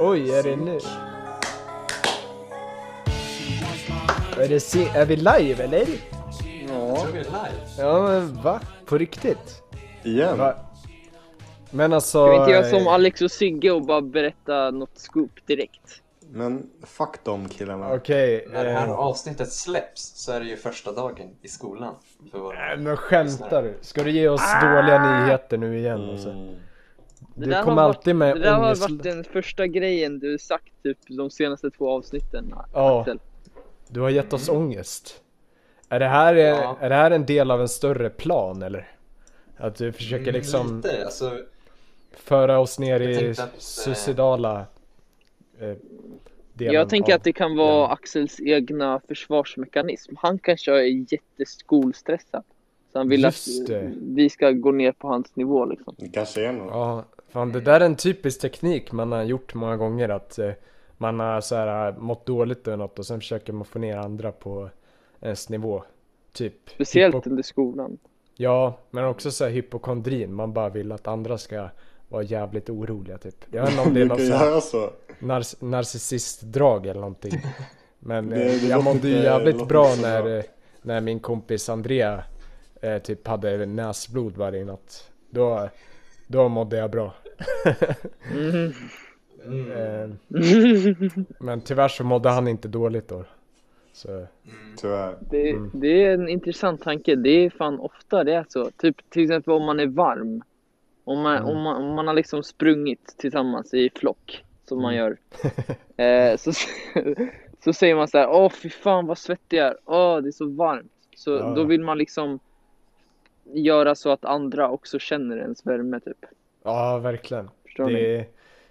Oj, är det nu? Är, det se- är vi live eller? Ja. Jag tror vi är live. Ja, men va? På riktigt? Igen. Va? Men alltså... Ska vi inte göra som eh, Alex och Sigge och bara berätta något scoop direkt? Men fuck de killarna. Okej. När det här eh, avsnittet släpps så är det ju första dagen i skolan. För våra... nej, men skämtar du? Ska du ge oss Ah! dåliga nyheter nu igen? Alltså? Mm. Du där har kommer varit- alltid med Det där har ångest- varit den första grejen du sagt typ de senaste två avsnitten. Ja. Axel. Du har gett oss ångest. Är det, här, eh, Ja. är det här en del av en större plan eller? Att du försöker liksom Mm, Lite, alltså. föra oss ner Jag i tänkte att, eh, suicidala eh, delen Jag tänker av- att det kan vara Axels egna försvarsmekanism. Han kanske är jätteskolstressad. Så han vill Just att det. vi ska gå ner på hans nivå liksom. Det kanske är något. Ja, fan det där är en typisk teknik man har gjort många gånger att eh, man har så här, eh, mått dåligt eller något och sen försöker man få ner andra på ens nivå. Typ. Speciellt hypo- under skolan. Ja, men också så här hypokondrin. Man bara vill att andra ska vara jävligt oroliga typ. Jag vet inte om det är Du något kan så här göra så. narc- narcissistdrag eller någonting. Men Det- eh, det jag låter mådde ju inte- jävligt låter bra inte så bra. när, eh, när min kompis Andrea eh, typ hade näsblod varje natt. Då, då mådde jag bra. Mm. Eh, Men tyvärr så mådde han inte dåligt då. Så, Tyvärr. Det, Mm. det är en intressant tanke. Det är fan ofta det är så. Typ till exempel om man är varm. Om man, Mm. om man, om man har liksom sprungit tillsammans i flock, som Mm. man gör. Eh, så, så säger man så här, åh fy fan vad svettig jag är. Åh, det är så varmt. Så Ja. då vill man liksom göra så att andra också känner ens värme typ. ja, verkligen. Förstår ni? Det,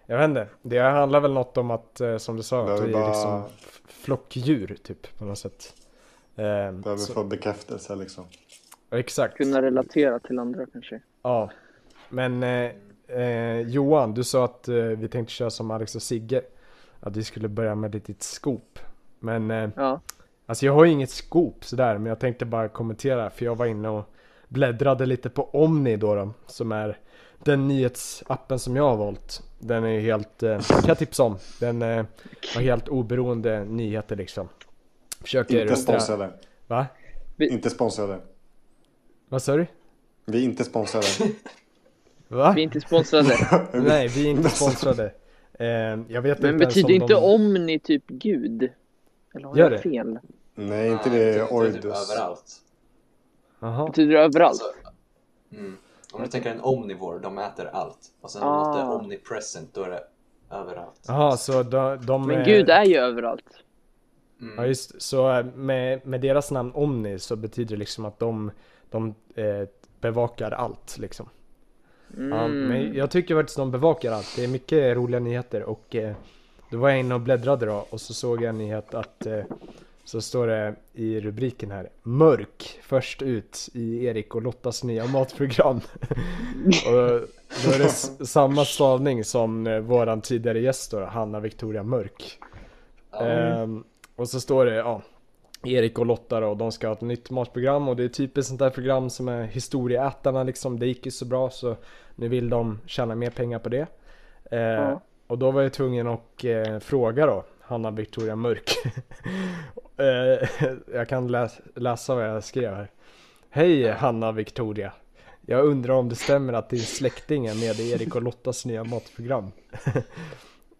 jag vet inte. Det handlar väl något om att, eh, som du sa, att Behöver vi är bara- liksom f- flockdjur typ på något sätt. Ehm, Behöver så- få bekräftelse liksom. Exakt. Kunna relatera till andra kanske. Ja. Men eh, eh, Johan, du sa att eh, vi tänkte köra som Alex och Sigge. Att vi skulle börja med ett litet scoop. Men eh, Ja. Alltså jag har ju inget scoop sådär, men jag tänkte bara kommentera för jag var inne och bläddrade lite på Omni då, då som är den nyhetsappen som jag har valt. Den är ju helt, eh, kan jag tipsa om, den eh, har helt oberoende nyheter liksom. Försöker... Inte sponsrade. Va? Inte sponsrade. Vad sa du? Vi är inte sponsrade. Va? Vi är inte sponsrade. Nej, vi är inte sponsrade. Eh, jag vet Men inte ens betyder om inte de... Omni typ gud? Eller har Gör jag det? fel? Nej, inte Nej, det. är typ Oidus. Överallt. Jaha. Betyder det överallt? Alltså, mm. Om du tänker en omnivore, de äter allt. Och sen om Ah. något är omnipresent, då är det överallt. Jaha, så de... de Men eh, gud är ju överallt. Ja just så eh, med, med deras namn Omni så betyder det liksom att de, de eh, bevakar allt liksom. Ja, men jag tycker faktiskt de bevakar allt. Det är mycket roliga nyheter och eh, då var jag inne och bläddrade då och så såg jag en nyhet att eh, så står det i rubriken här Mörk först ut i Erik och Lottas nya matprogram. och då är det s- samma stavning som eh, våran tidigare gäst då, Hanna Victoria Mörk. Ehm, och så står det, ja, Erik och Lotta då, de ska ha ett nytt matprogram och det är typiskt sånt där program som är historieätarna liksom. Det gick ju så bra så nu vill de tjäna mer pengar på det. Eh, Ja. Och då var jag tvungen att eh, fråga då, Hanna Victoria Mörk. eh, jag kan läs- läsa vad jag skrev här. Hej Hanna Victoria. Jag undrar om det stämmer att din släkting är med i Erik och Lottas nya matprogram?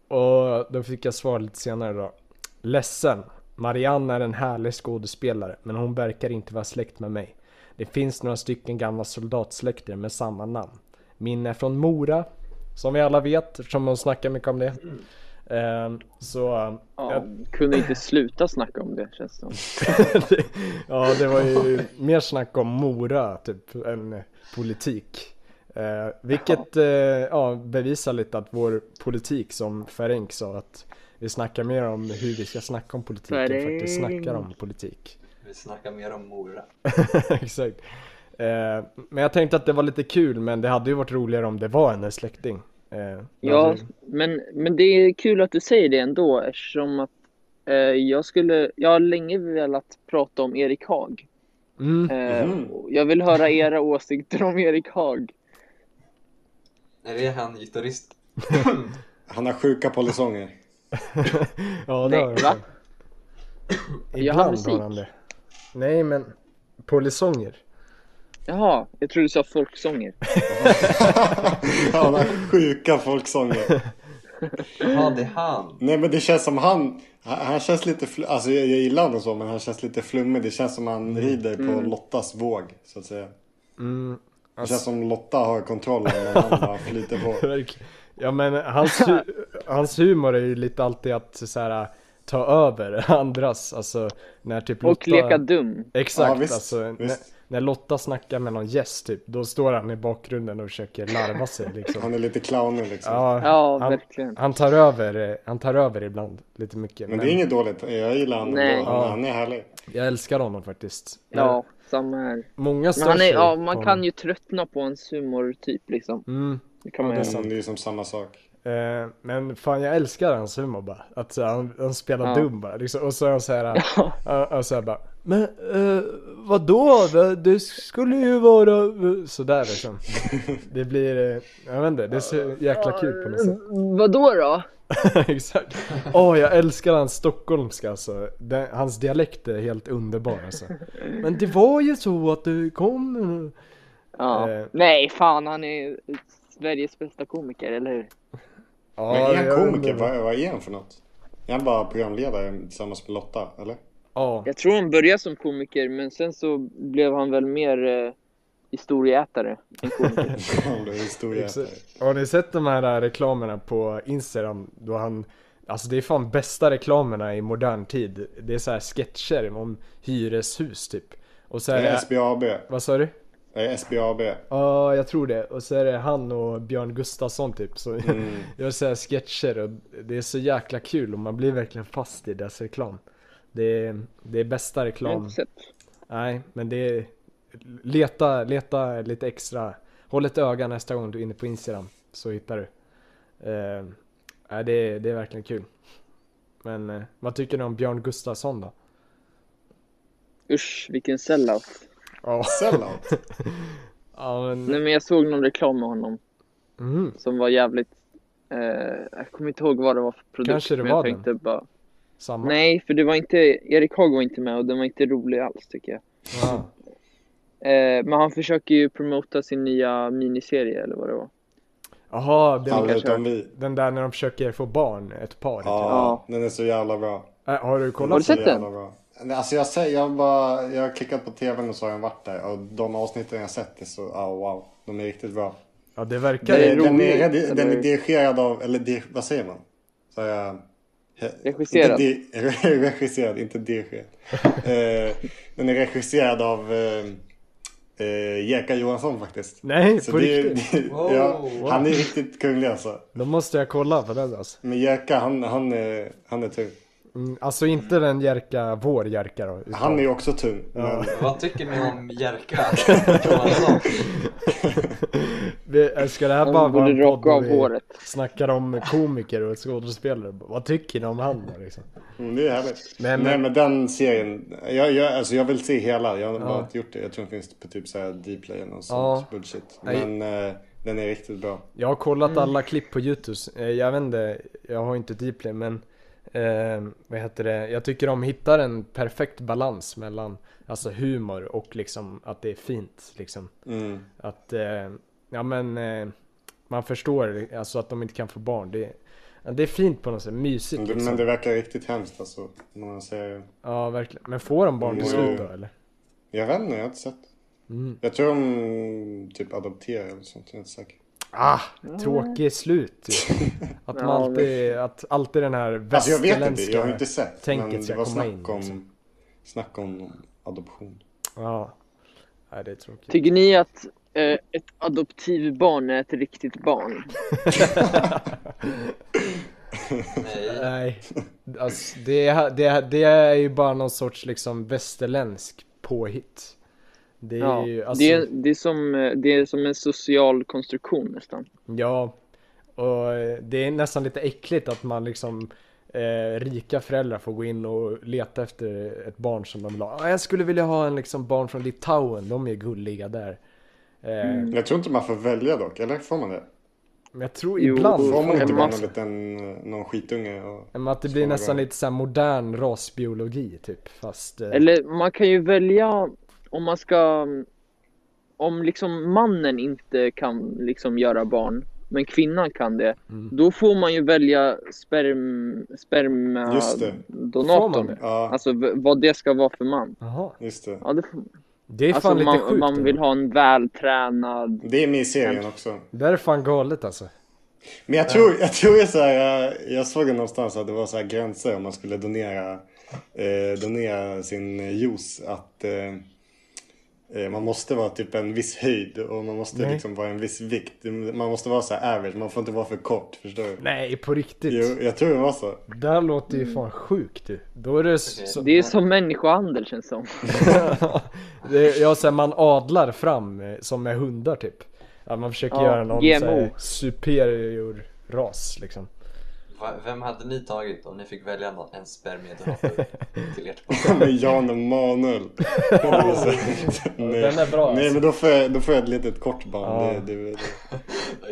Och då fick jag svar lite senare då. Ledsen. Marianne är en härlig skådespelare, men hon verkar inte vara släkt med mig. Det finns några stycken gamla soldatsläkter med samma namn. Min är från Mora, som vi alla vet eftersom hon snackar mycket om det. Ehm, så... Ja, jag- Kunde inte sluta snacka om det känns det som. det, ja, det var ju mer snack om Mora typ än politik. Eh, vilket eh, ja, bevisar lite att vår politik som Ferenc sa att vi snackar mer om hur vi ska snacka om politik än faktiskt snackar om politik. Vi snackar mer om Mora. Exakt. Eh, men jag tänkte att det var lite kul men det hade ju varit roligare om det var hennes släkting. Eh, det Ja, hade ju- men, men det är kul att du säger det ändå eftersom att eh, jag skulle, jag har länge velat prata om Erik Haag. Mm. Eh, Mhm. och Jag vill höra era åsikter om Erik Haag. Är det han gitarrist? Han har sjuka polisonger. Ja, det Nej, har jag. va? också. Jag har Ibland har musik. han det. Nej, men polisonger. Jaha, jag trodde du sa folksånger. Han har sjuka folksånger. Ja, det är han. Nej men det känns som han, han han känns lite, fl- alltså jag, jag gillar honom så men han känns lite flummig. Det känns som han rider på Lottas våg så att säga. Mm, Det känns som Lotta har kontrollen men han bara flyter på. verk- ja, men hans, hu- hans humor är ju lite alltid att så här, ta över andras. Alltså när typ Och leka dum. Exakt, Ja, visst, alltså visst. När, när Lotta snackar med någon gäst typ, då står han i bakgrunden och försöker larva sig liksom. Han är lite clownig liksom. Ja, Ja, han, verkligen. han tar över, eh, han tar över ibland lite mycket. Men Men, det är inget dåligt. Jag gillar honom Nej. ändå. Han, Ja. han är härlig. jag älskar honom faktiskt. Men Ja, samma här. Många Men stör han är, sig ja, på man kan ju tröttna på hans humortyp liksom. Mm, Det kan Ja, det man är göra. sant. Men det är ju som samma sak. eh, men fan jag älskar hans humor bara. Att så här, han, han spelar Ja. dum bara liksom. Och så är han så här, Ja. han, han så här bara. Men eh, vadå? Va? Det skulle ju vara sådär liksom. Det blir, eh, jag vet inte, det är så jäkla kul på något sätt. Vadå då? Exakt. Åh, jag älskar hans stockholmska alltså. Den, hans dialekt är helt underbar alltså. Men det var ju så att du kom... Ja. Eh. Nej, fan han är Sveriges bästa komiker, eller hur? Ja, Men är han jag komiker? undrar. Vad, vad är han för något? Är han bara programledare tillsammans med Lotta? Eller? Ja, Jag tror han började som komiker, men sen så blev han väl mer eh, historieätare än komiker. Han blev historieätare. exakt. Har ni sett de här äh, reklamerna på Instagram då han... Alltså det är fan bästa reklamerna i modern tid. Det är så här sketcher om hyreshus typ. Och så är Det är det... SBAB. Vad sa du? Det är SBAB. Ja, jag tror det. Och så är det han och Björn Gustafsson typ. Så jag säger sketcher och det är så jäkla kul och man blir verkligen fast i deras reklam. Det är, det är bästa Jag har reklam. inte sett. Nej, men det är... Leta, leta lite extra. Håll ett öga nästa gång du är inne på Instagram så hittar du. Eh, nej, det, är, det är verkligen kul. Men eh, vad tycker ni om Björn Gustafsson då? Usch, vilken sellout. Ja, Sellout. ja men... Nej men jag såg någon reklam med honom Mm, som var jävligt... Eh, jag kommer inte ihåg vad det var för produkt. Kanske det men jag var den. tänkte bara... samma. Nej, för det var inte... Erik Haag var inte med och den var inte rolig alls tycker jag. Ja. Eh, men han försöker ju promota sin nya miniserie eller vad det var. Jaha, det var Alla kanske- utom vi. Den där när de försöker få barn, ett par. typ. Ja, den är så jävla bra. Äh, har du Den kollat? är Har du så sett den? jävla bra. Nej, Alltså jag, säger, jag, bara, jag har klickat på tvn och så har jag varit där. Och de avsnitten jag har sett är så, ah, wow. De är riktigt bra. Ja, det verkar Det är ju. roligt, Eh, den, är, redi- den eller? är dirigerad av, eller di, vad säger man? Så jag, he- Regisserad. Inte di, regisserad, inte dirigerad. Eh, den är regisserad av eh, eh, Jerka Johansson faktiskt. Nej, Så på det, riktigt. det, ja, Wow. han är riktigt kunglig alltså. Då måste jag kolla på den alltså. Men Jerka, han, han, är, han är tung. Mm, alltså inte den Jerka, vår Jerka då. Utan, Han är ju också tung. Men, Vad tycker ni om Jerka Johansson? Vi- Ska det här Han bara vara borde en podd rocka där av vi håret. snackar om komiker och skådespelare? Vad tycker ni om han då liksom? mm, det är härligt. Men- Nej men den serien, jag, jag, alltså, jag vill se hela. Jag har Ja. bara inte gjort det. Jag tror den finns på typ såhär Dplay eller något sånt bullshit. Nej. Men eh, den är riktigt bra. Jag har kollat Mm. alla klipp på Youtube. Eh, Jag vet inte, jag har inte Dplay men eh, vad heter det? Jag tycker de hittar en perfekt balans mellan alltså humor och liksom att det är fint liksom. Mm. Att, eh, ja men eh, man förstår alltså att de inte kan få barn. Det, det är fint på något sätt, mysigt Men det- liksom. Men det verkar riktigt hemskt alltså. När man ser... Ja verkligen. Men får de barn till Jo. slut då eller? Jag vet inte, jag har inte sett. Mm. Jag tror de typ adopterar eller sånt, jag är inte säker. Ah, tråkig slut ju. Att man Mm. Ja, alltid, att alltid den här Alltså jag västerländska... vet inte, jag har inte sett. tänket Men ska det var komma snack in, om, liksom. snack om adoption. Ja. Nej det är tråkigt. Tycker ni att eh, ett adoptivbarn är ett riktigt barn? Nej. Nej. Alltså, det, är, det, är, det är ju bara någon sorts liksom västerländsk påhitt. Det är Ja, ju alltså... det, är, det, är som, eh, det är som en social konstruktion nästan. Ja, och eh, det är nästan lite äckligt att man liksom eh, rika föräldrar får gå in och leta efter ett barn som de vill ha. "Ah, Jag skulle vilja ha en liksom barn från Litauen, de är gulliga där. Eh, Mm. Jag tror inte man får välja dock, eller får man det? Men jag tror Jo, ibland Får får man inte man- bara Emma- någon, liten, eh, någon skitunge? Och... men att det blir Små nästan gånger. lite såhär modern rasbiologi typ fast... eh, Eller man kan ju välja om man ska... Om liksom mannen inte kan liksom göra barn, men kvinnan kan det. Mm. Då får man ju välja sperm, Just det. Får man spermadonatorn. det? Ja, Alltså v- vad det ska vara för man. Jaha. just det. Ja, det, får- Det är alltså fan lite man, sjukt. man vill ändå. ha en vältränad... Det är med i serien också. Det där är fan galet alltså. Men jag tror, jag tror jag, så här, jag, jag såg det någonstans att det var så här gränser om man skulle donera, eh, donera sin juice. Att eh, eh, man måste vara typ en viss höjd och man måste Nej. liksom vara en viss vikt. Man måste vara så här average, man får inte vara för kort. Förstår du? Nej, på riktigt. Jo, jag tror det var så. Det här låter ju fan sjukt du. Då är det s- så... Det är som människohandel känns som. det är, ja, så här, man adlar fram eh, som med hundar typ. Att man försöker Ja, göra någon GMO. så här, superior ras liksom. Va- Vem hade ni tagit om ni fick välja någon- en spermiedonator till ert barn? Med Jan Emanuel. nej. Den är bra, Nej alltså. men då får jag, då får jag ett litet kort barn. Ja. Det, det, det.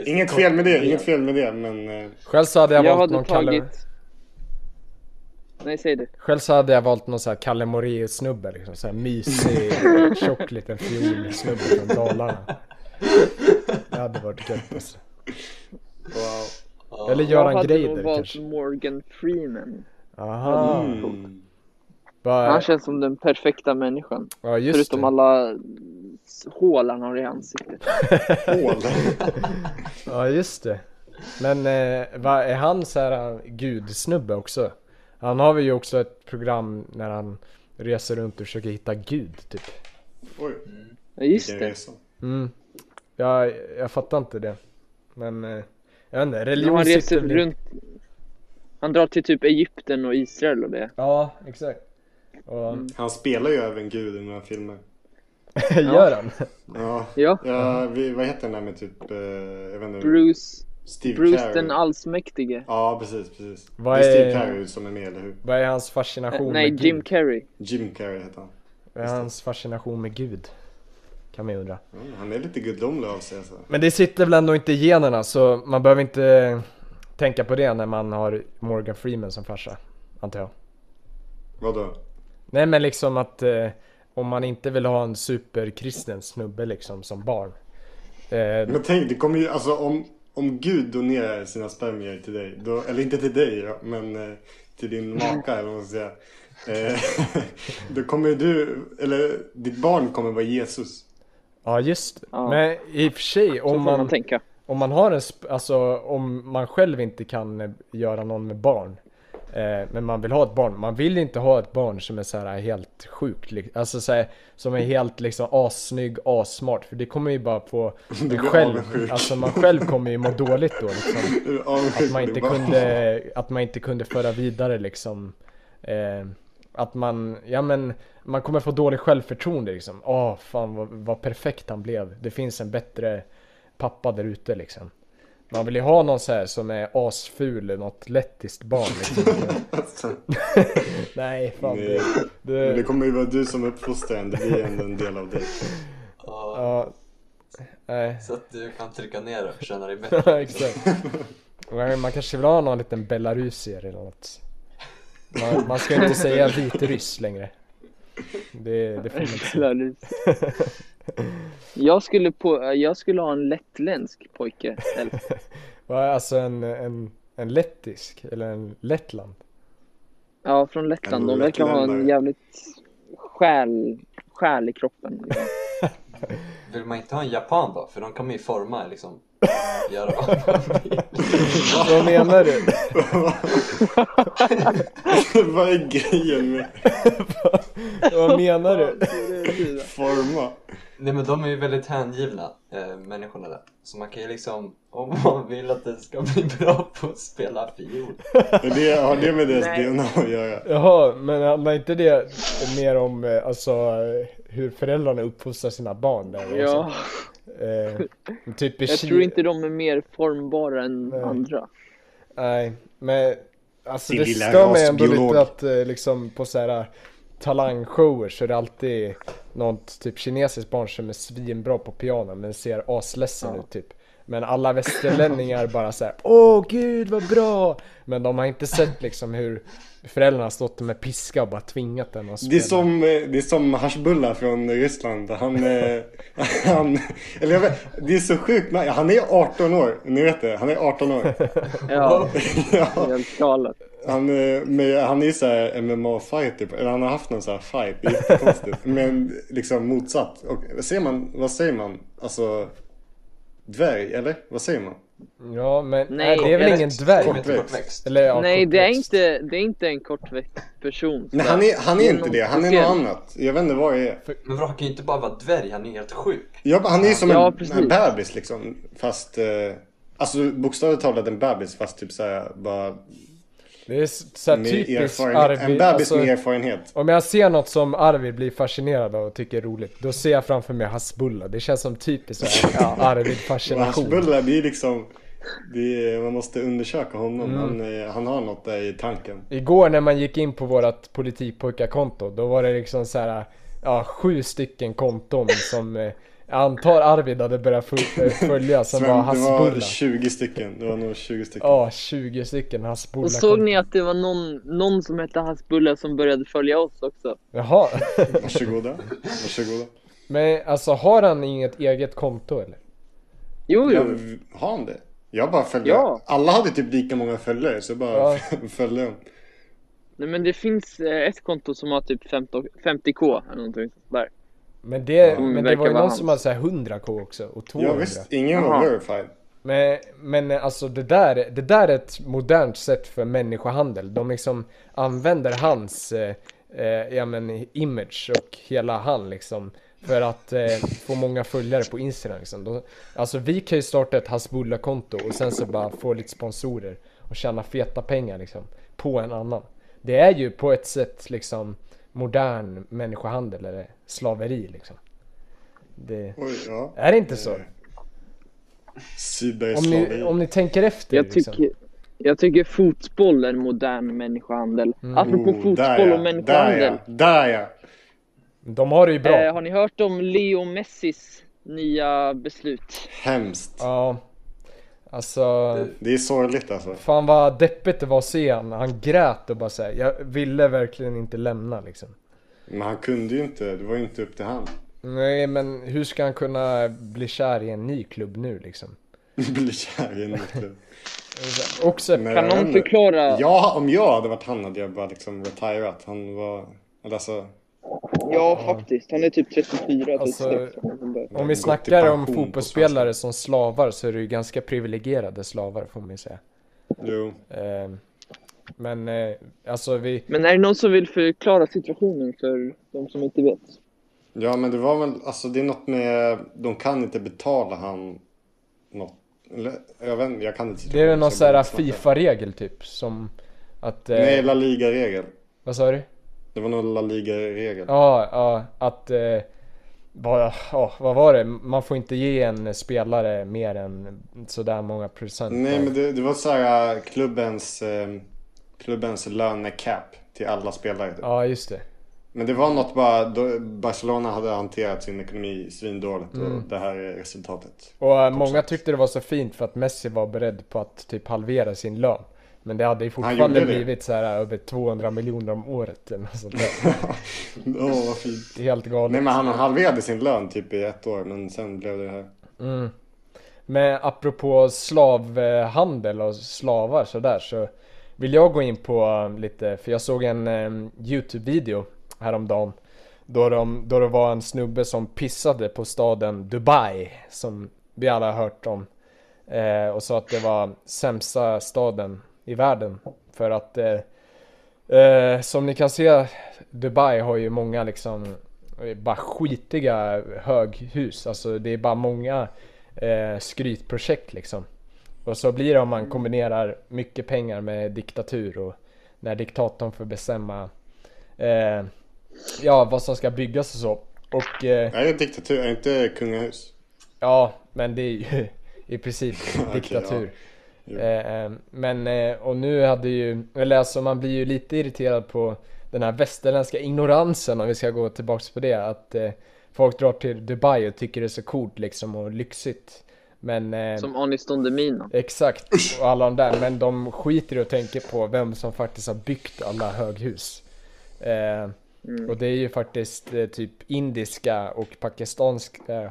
Inget fel med det, inget fel med det. Men eh, Själv så hade jag, Jag valt hade någon Kalle... tagit... Nej, säg du. Själv så hade jag valt någon så här Kalle Moraeus snubbe liksom. Så här mysig, tjock liten fiolsnubbe från Dalarna. Det hade varit gött alltså. wow. Eller Jag Göran hade nog Greider valt kanske. Morgan Freeman. Aha. Mm. Bara, Han känns som den perfekta människan. ja, just Förutom det. alla hål han har i ansiktet. Hål. Ja, just det. Men eh, va, är han så här eh, gudsnubbe också? Han har ju också ett program när han reser runt och försöker hitta gud typ. Oj, Ja, just vilken det. resa. Mm. Jag, jag fattar inte det. Men eh, jag vet inte, När religion han sitter reser väl- runt. Han drar till typ Egypten och Israel och det. Ja, exakt. Och, Mm. Han spelar ju även Gud i några filmer. Gör han? Ja. Ja. ja vi, vad heter den där med typ, eh, jag vet inte, Bruce, Steve Bruce Carey? den allsmäktige. Ja, precis, precis. Vad det är är- Steve Carey som är med, eller hur? Vad är hans fascination Nej, med Jim Gud? Carrey. Jim Carey heter han. Vad är hans fascination med Gud? Kan man ju undra. Mm, han är lite gudomlig av sig alltså. Men det sitter väl ändå inte i generna så man behöver inte tänka på det när man har Morgan Freeman som farsa. Antar jag. Vadå? Nej men liksom att eh, om man inte vill ha en superkristen snubbe liksom som barn. Eh, Men tänk, det kommer ju, alltså om, om Gud donerar sina spermier till dig, då, eller inte till dig ja, men eh, till din maka eller vad man ska säga. Eh, då kommer ju du, eller ditt barn kommer vara Jesus. ja just det. Ja. Men i och för sig Så får om man, man, tänka. om man har en, sp- alltså om man själv inte kan eh, göra någon med barn. Eh, men man vill ha ett barn. Man vill inte ha ett barn som är så här helt sjukt. li- Alltså så här, som är helt liksom assnygg, assmart. För det kommer ju bara få... Du blir Själv, avundsjuk. alltså man själv kommer ju må dåligt då liksom. Du är avundsjuk Att man på inte ditt barn. kunde, att man inte kunde föra vidare liksom. Eh, att man, ja men, man kommer få dålig självförtroende liksom. Åh fan vad, vad perfekt han blev. Det finns en bättre pappa där ute liksom. Man vill ju ha någon så här som är asful, något lettiskt barn liksom. Alltså. Nej fan Nej. det, Men det det, kommer ju vara du som uppfostrar henne, det blir ändå en del av dig. Ja, ja. Nej. Så att du kan trycka ner det och känna dig bättre. Ja, exakt. Men Man kanske vill ha någon liten belarusier eller något. Man, man ska inte säga vitryss längre. Det, det får man inte säga. Belarus. jag, skulle på, jag skulle ha en lättländsk pojke. Eller, Va, Alltså en, en, en lettisk, eller en Lettland. ja, från Lettland. De En verkar ha en lättländare. jävligt själ, själ i kroppen. liksom. Vill man inte ha en japan då? För de kommer ju forma liksom. Göra vad man vill. Vad menar du? Vad är grejen med Vad menar du? forma? Nej men de är ju väldigt hängivna eh, människorna där. Så man kan ju liksom, om man vill att det ska bli bra på att spela fiol. Är det, har det med deras Nej. DNA att göra? Jaha, men handlar inte det mer om eh, alltså, eh, hur föräldrarna uppfostrar sina barn? Där, Ja, Eh, typ i jag Ki- tror inte de är mer formbara än Nej. andra. Nej, men alltså Din det lilla stör mig ändå rasbiolog. lite att eh, liksom på så här talangshower så är det alltid något typ kinesiskt barn som är svinbra på piano men ser asledsen ut typ. Men alla västerlänningar bara så här, åh gud vad bra! Men de har inte sett liksom hur föräldrarna har stått med piska och bara tvingat den att Det är spela. som, eh, det är som Hashbullah från Ryssland. Han, eh, han, eller jag vet, det är så sjukt. men Han är 18 år. Ni vet det. Han är 18 år. Ja, Ja, helt galet. han, eh, men han är ju så här MMA-fighter. Eller han har haft någon så här fight. Det är jättekonstigt. Men liksom motsatt. Och ser man, vad säger man? Alltså dvärg, eller? Vad säger man? Ja men nej, Nej, det är väl ingen dvärg? Kortväxt. Kortväxt. Eller, ja, Nej, det är, kortväxt. inte, det är inte en kortväxt person. Nej, han är, han är inte någon det. Han är speciell. något annat. Jag vet inte vad det är. Men vadå, han kan ju inte bara vara dvärg, han är helt sjuk. Ja, men han är ju som Ja, en, precis. en bebis liksom. Fast, eh, alltså bokstavligt talat en bebis fast typ såhär bara Det är så så här med typiskt erfarenhet. En Arvid. bebis alltså, med erfarenhet. om jag ser något som Arvid blir fascinerad av och tycker är roligt, då ser jag framför mig Hasbulla. Det känns som typiskt så här, Och Arvid-fascination. Hasbulla, det är liksom, det är, man måste undersöka honom. Han, eh, han har något där i tanken. Igår när man gick in på vårat politikpojkarkonto, då var det liksom så här, ja, sju stycken konton som eh, jag antar Arvid hade börjat föl- eh, följa som Sven, var det var Hasbulla. 20 stycken. Det var nog 20 stycken. Ja, 20 stycken Hasbulla. Och såg ni att det var någon, någon som hette Hasbulla som började följa oss också? Jaha. Varsågoda. Varsågoda. Men alltså har han inget eget konto eller? Jo, Jag, jo. har han det? Jag bara följde. Ja. Alla hade typ lika många följare så jag bara Ja. följde dem. Nej, men det finns eh, ett konto som har typ 15 50k eller någonting sånt där. Men det, Mm, men det verkar var ju vara någon han. som hade så här 100k också och 200. Ja visst, ingen var Aha. verified. Men, men alltså det där, det där är ett modernt sätt för människohandel. De liksom använder hans eh, eh, ja, men image och hela han liksom för att eh, få många följare på Instagram. Liksom. De, alltså vi kan ju starta ett Hasbulla-konto och sen så bara få lite sponsorer och tjäna feta pengar liksom på en annan. Det är ju på ett sätt liksom modern människohandel eller slaveri liksom. Det, Oj, ja. är det inte så? Om ni, Sydbergslaveri. om ni tänker efter Jag liksom. tycker, jag tycker fotboll är modern människohandel. Apropå Oh, fotboll och människohandel. Där ja, där ja. De har det ju bra. Eh, har ni hört om Leo Messis nya beslut? Hemskt. Ja. Alltså, Det är sorgligt alltså. fan vad deppigt det var att se han. Han grät och bara såhär, jag ville verkligen inte lämna liksom. Men han kunde ju inte, det var ju inte upp till han. Nej men hur ska han kunna bli kär i en ny klubb nu liksom? Bli kär i en nyklubb. Också, Men Kan jag någon vet inte. förklara? Eh, Ja, om jag hade varit han hade jag bara liksom retirat. Han var, eller alltså, Ja, faktiskt. Han är typ 34, Alltså, 36. om vi gått i snackar om pension på fotbollsspelare som slavar så är det ju ganska privilegierade slavar får man ju säga. jo. Eh, Men eh, alltså vi, Men är det någon som vill förklara situationen för de som inte vet? Ja, men det var väl, alltså det är något med, de kan inte betala han något. Eller, jag vet inte, jag kan inte. det är väl någon så sån här jag bara snackar. FIFA-regel typ som att... eh, Nej, La Liga-regel. Vad sa du? Det var någon La Liga-regel. Ja, ja, att... Eh, bara, ja, vad var det? Man får inte ge en spelare mer än sådär många procent. Nej, av- men det, det var så här äh, klubbens, eh, klubbens lönecap till alla spelare. typ. Ja, just det. Men det var något bara, då Barcelona hade hanterat sin ekonomi svindåligt och Mm. det här är resultatet. Och eh, många tyckte det var så fint för att Messi var beredd på att typ halvera sin lön. Men det hade ju gjorde fortfarande det. blivit så här eh, över 200 miljoner om året eller något sånt där. Åh, vad fint. Det är Helt galet. Nej men han halverade sin lön typ i ett år men sen blev det här. Mm. Men apropå slavhandel och slavar sådär så vill jag gå in på eh, lite, för jag såg en eh, Youtube-video häromdagen då, de, då det var en snubbe som pissade på staden Dubai som vi alla har hört om eh, och sa att det var sämsta staden i världen för att eh, Eh, som ni kan se, Dubai har ju många liksom eh, bara skitiga höghus. Alltså det är bara många eh, skrytprojekt liksom. Och så blir det om man kombinerar mycket pengar med diktatur och när diktatorn får bestämma eh, ja, vad som ska byggas och så. Och eh, Är det diktatur? Är det inte kungahus? ja, men det är ju i princip diktatur. Jo. Eh, eh, men, eh, och nu hade ju, eller alltså man blir ju lite irriterad på den här västerländska ignoransen om vi ska gå tillbaks på det. Att eh, folk drar till Dubai och tycker det är så coolt liksom och lyxigt. Men eh, Som Aniston Demina. exakt, och alla de där. Men de skiter i att tänka på vem som faktiskt har byggt alla höghus. Eh, Och det är ju faktiskt eh, typ indiska och pakistanska, eh,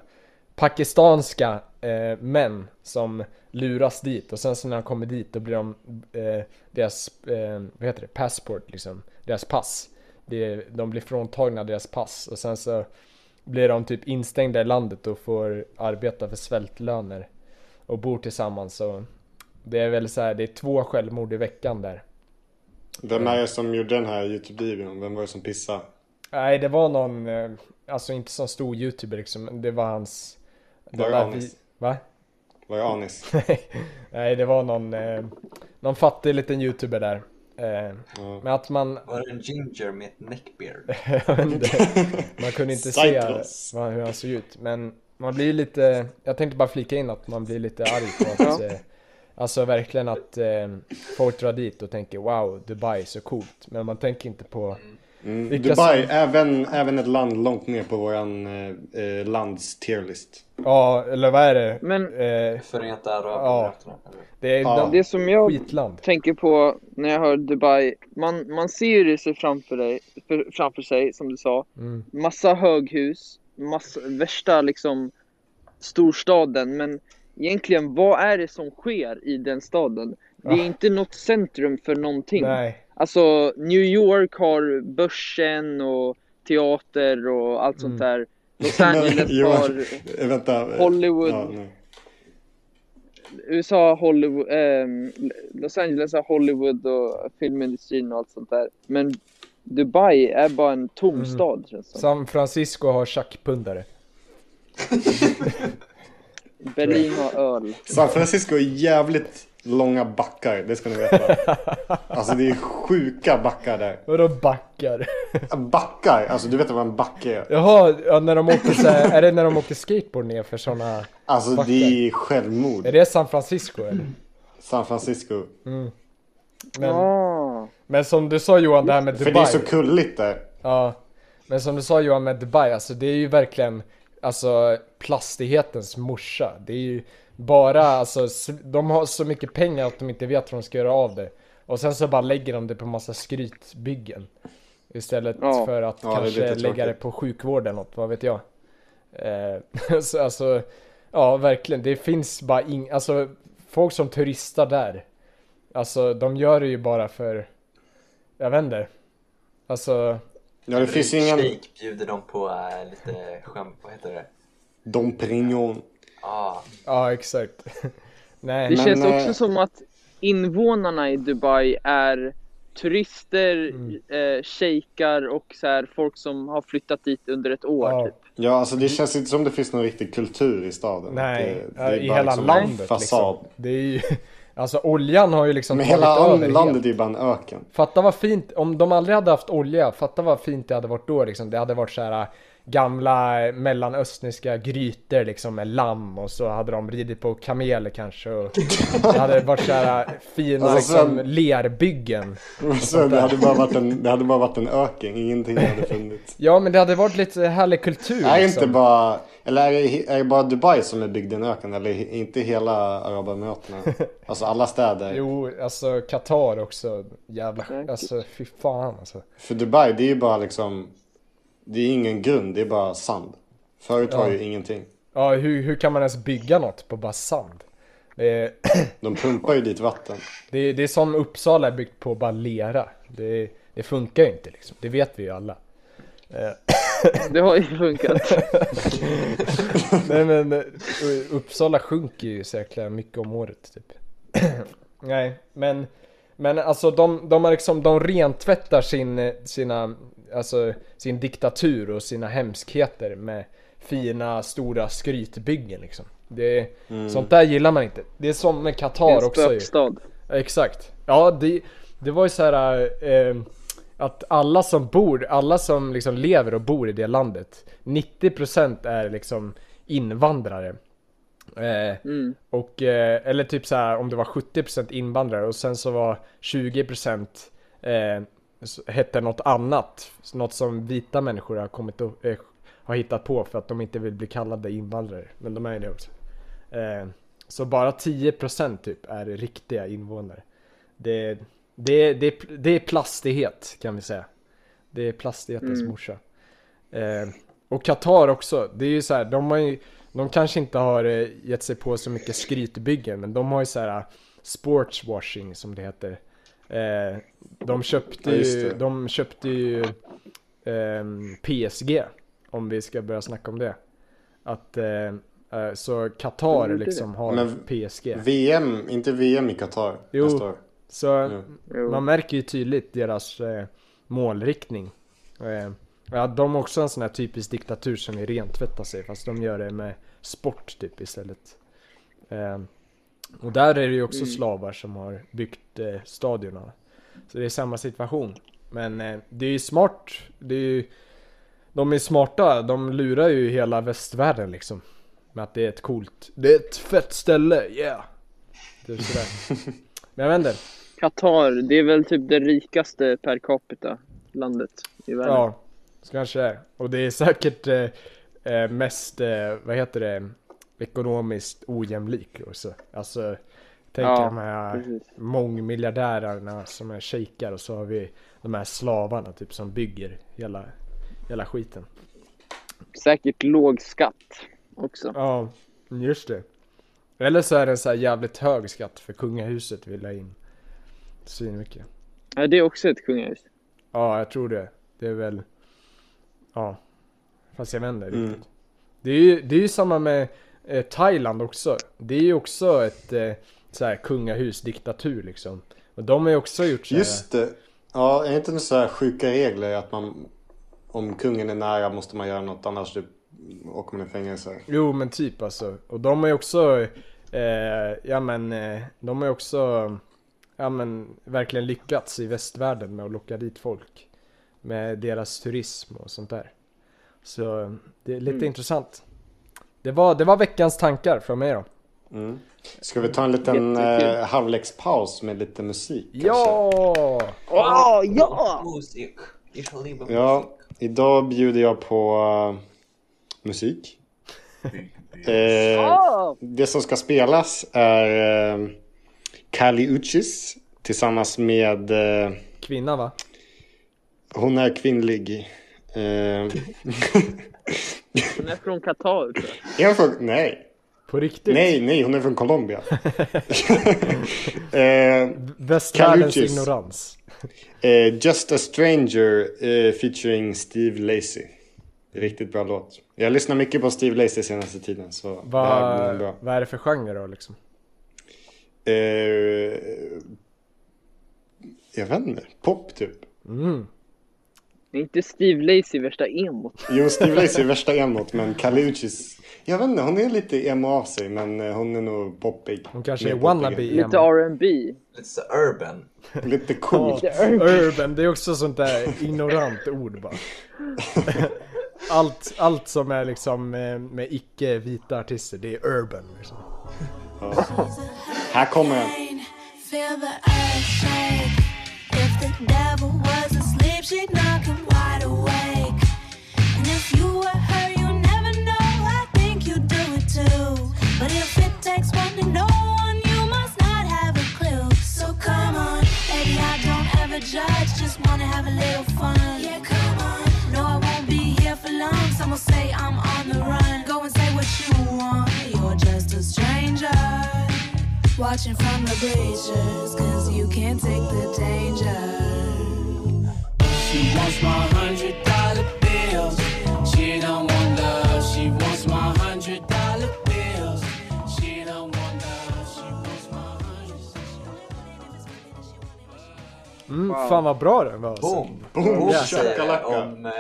pakistanska eh, män som luras dit och sen så när de kommer dit då blir de eh, deras, eh, vad heter det, passport liksom, deras pass. Det, de blir fråntagna deras pass och sen så blir de typ instängda i landet och får arbeta för svältlöner och bor tillsammans så det är väl så här, det är två självmord i veckan där. Vem är det som gjorde den här Youtube-videon? Vem var det som pissade? Nej, det var någon, eh, alltså inte så stor youtuber liksom, men det var hans... Var det där Anis? Va? Var det Anis? Nej, det var någon, eh, någon fattig liten youtuber där. Eh, Ja. men att man, Var det en ginger med ett neckbeard? jag vet inte, man kunde inte se Cyprus. vad, hur han såg ut. Men man blir lite, jag tänkte bara flika in att man blir lite arg på att, Ja. eh, alltså verkligen att eh, folk drar dit och tänker wow, Dubai, så coolt. Men man tänker inte på, Mm. Vilka Dubai, även, även ett land långt ner på våran eh, eh, lands tierlist. ja, eller vad är det? Men- eh, Förenta Ja. Arabemiraten? eller? det är Ja. de, Det som jag skitland. tänker på när jag hör Dubai, man, man ser ju det sig framför, dig, för, framför sig som du sa. Mm. Massa höghus, massa, värsta liksom storstaden. Men egentligen, vad är det som sker i den staden? Det är Ja. inte något centrum för någonting. Ah. Nej. Alltså New York har börsen och teater och allt Mm. sånt där. Los Angeles Jo, har eh, Vänta. eh, Hollywood. Ja, nej. USA har Hollywood, ehm, Los Angeles har Hollywood och filmindustrin och allt sånt där. Men Dubai är bara en tom Mm. stad känns det som. San Francisco har tjackpundare. Berlin har öl. San Francisco är jävligt långa backar, det ska ni veta. Alltså det är sjuka backar där. Vadå backar? Backar, alltså du vet vad en backe är? Jaha, ja, när de åker så här, är det när de åker skateboard ner för såna? Alltså Backar. det är självmord. Är det San Francisco eller? San Francisco. Men, Ah. men som du sa Johan, det här med För det är Dubai. så kulligt där. Ja, men som du sa Johan med Dubai, alltså det är ju verkligen alltså plastighetens morsa. Det är ju bara alltså, s- de har så mycket pengar att de inte vet vad de ska göra av det. Och sen så bara lägger de det på massa skrytbyggen. Istället Ja. för att Ja, det är kanske lite lägga det tråkigt. på sjukvård eller något, vad vet jag. Eh, så alltså, ja verkligen, det finns bara ing, alltså folk som turistar där. Alltså de gör det ju bara för, jag vet inte. Alltså, Ja det finns ju ingen... Shake bjuder dem på äh, lite skämt, vad heter det? Dom Perignon. Ah, Ja, exakt. Nej, men, Men, Det känns eh, också som att invånarna i Dubai är turister, Mm. eh, shejkar och så här, folk som har flyttat dit under ett år. Ja. Typ. Ja, alltså det känns inte som det finns någon riktig kultur i staden. nej, det, det är i bara hela liksom en landet fasad. liksom. Det är ju, alltså oljan har ju liksom Men tagit hela an- över landet helt. är ju bara en öken. Fatta vad fint, om de aldrig hade haft olja, fatta vad fint det hade varit då liksom. Det hade varit så här gamla eh, mellanöstniska grytor liksom med lamm och så hade de ridit på kameler kanske och det hade varit så här äh, fina Alltså, liksom sen- lerbyggen. Så det, hade bara varit en, det hade bara varit en öken, ingenting hade funnits. Ja men det hade varit lite härlig kultur Är det liksom. inte bara, eller är det, är det bara Dubai som är byggd i en öken? Eller är inte hela Arabemiraten? Alltså alla städer. Jo, alltså Qatar också, jävla, Säkert. alltså fy fan alltså. För Dubai, det är ju bara liksom, det är ingen grund, det är bara sand. Förut var ju ingenting. Ja, hur, hur kan man ens bygga något på bara sand? Det är, De pumpar ju dit vatten. det är, det är som Uppsala är byggt på bara lera. Det, det funkar ju inte liksom, det vet vi ju alla. Eh, Det har ju funkat. Nej men eh, U- Uppsala sjunker ju så jäkla mycket om året typ. Nej, men, men alltså de, de, har liksom, de rentvättar sin, eh, sina, alltså, sin diktatur och sina hemskheter med fina stora skrytbyggen liksom. Det, Sånt där gillar man inte. Det är som med En Qatar också ju. spökstad. Exakt. Ja, det, det var ju så här eh, att alla som bor, alla som liksom lever och bor i det landet, 90% är liksom invandrare. Eh, och, eh, eller typ så här om det var 70% invandrare och sen så var 20% eh, s- hette något annat. Något som vita människor har, kommit och, eh, har hittat på för att de inte vill bli kallade invandrare. Men de är ju det också. Eh, Så bara 10% typ är riktiga invånare. Det, det, det, det är plastighet kan vi säga. Det är plastighetens Mm. morsa. Eh, och Qatar också, det är ju så här, de har ju, de kanske inte har eh, gett sig på så mycket skrytbyggen, men de har ju så här sportswashing som det heter. Eh, de köpte Ja, just ju, det. de köpte ju ehm, PSG, om vi ska börja snacka om det. Att, eh, eh, så Mm, Men Qatar inte det. liksom har Men- PSG. VM, inte VM i Qatar Jo. nästa år. Så Jo. man märker ju tydligt deras eh, målriktning. Eh, ja, de har också en sån här typisk diktatur som vill rentvätta sig fast de gör det med sport typ istället. Eh, och där är det ju också Mm. slavar som har byggt eh, stadionerna. Så det är samma situation. Men eh, det är ju smart. Det är ju, de är smarta. De lurar ju hela västvärlden liksom. Med att det är ett coolt, det är ett fett ställe, yeah! Typ sådär. Men jag vet inte. Qatar, det är väl typ det rikaste per capita landet i världen. Ja, så kanske det är. Och det är säkert eh, eh, mest, eh, vad heter det, ekonomiskt ojämlik också. Alltså, tänk Ja, de här precis. mångmiljardärerna som är shejkar och så har vi de här slavarna typ som bygger hela, hela skiten. Säkert låg skatt också. Ja, just det. Eller så är det en så här jävligt hög skatt för kungahuset vill ha in svinmycket. Ja, det är också ett kungahus. Ja, jag tror det. Det är väl... Ja. Fast jag vänder Mm. riktigt. Det är, ju, det är ju samma med eh, Thailand också. Det är ju också ett eh, så här kungahusdiktatur liksom. Och de har ju också gjort så här, Just det. Ja, är inte det så här sjuka regler att man om kungen är nära måste man göra något annars typ åker man i fängelse. Jo men typ alltså. Och de har ju också, eh, ja men, eh, de har ju också, ja men verkligen lyckats i västvärlden med att locka dit folk. Med deras turism och sånt där. Så det är lite Mm. intressant. Det var, det var veckans tankar från mig då. Mm. Ska vi ta en liten Jättekul. eh, halvlekspaus med lite musik? kanske? Ja! Åh, Ah, ja! Musik. Ich liebe Ah, Ja, idag bjuder jag på eh, musik. Eh, Ja! Det som ska spelas är eh, Kali Uchis tillsammans med eh, Kvinna va? Hon är kvinnlig. Eh, Den är från Qatar tror jag. är hon från, nej, På riktigt? nej, nej, hon är från Colombia. eh, Västvärldens Kaluchis. ignorans. eh, Just a stranger eh, featuring Steve Lacy. Riktigt bra låt. Jag lyssnar mycket på Steve Lacy senaste tiden så det här Vad blir bra. vad är det för genre då liksom? Eh, jag vet inte, pop typ. Mm. Det är inte Steve Lacy värsta emot? Jo, Steve Lacy är värsta emot men Kali Uchis, jag vet inte, hon är lite emo av sig men eh, hon är nog poppig. Hon kanske Mer är wannabe. poppig. Lite R&B. Lite så urban. Lite cool. Lite urban. Urban, det är också sånt där ignorant ord bara. Allt, allt som är liksom eh, med icke-vita artister, det är urban. Liksom. Här kommer den. Feel the earth shake. If the devil was asleep, she'd knock him wide awake. And if you were her, you never know. I think you'd do it too. But if it takes one to know one, you must not have a clue. So come on, baby, I don't ever judge. Just wanna have a little fun. Yeah, come on. No, I won't be here for long. Some will say I'm on the run. Go and say what you want. You're just a stranger. Watching from the bleachers, cause you can't take the danger. She wants my hundred dollar bills. She don't want love. She wants my hundred dollar bills. She don't want love. She wants my hundred. Mm, Wow. Fan vad bra den var alltså. Boom! Boom, säger shakalaka. jag om... Eh,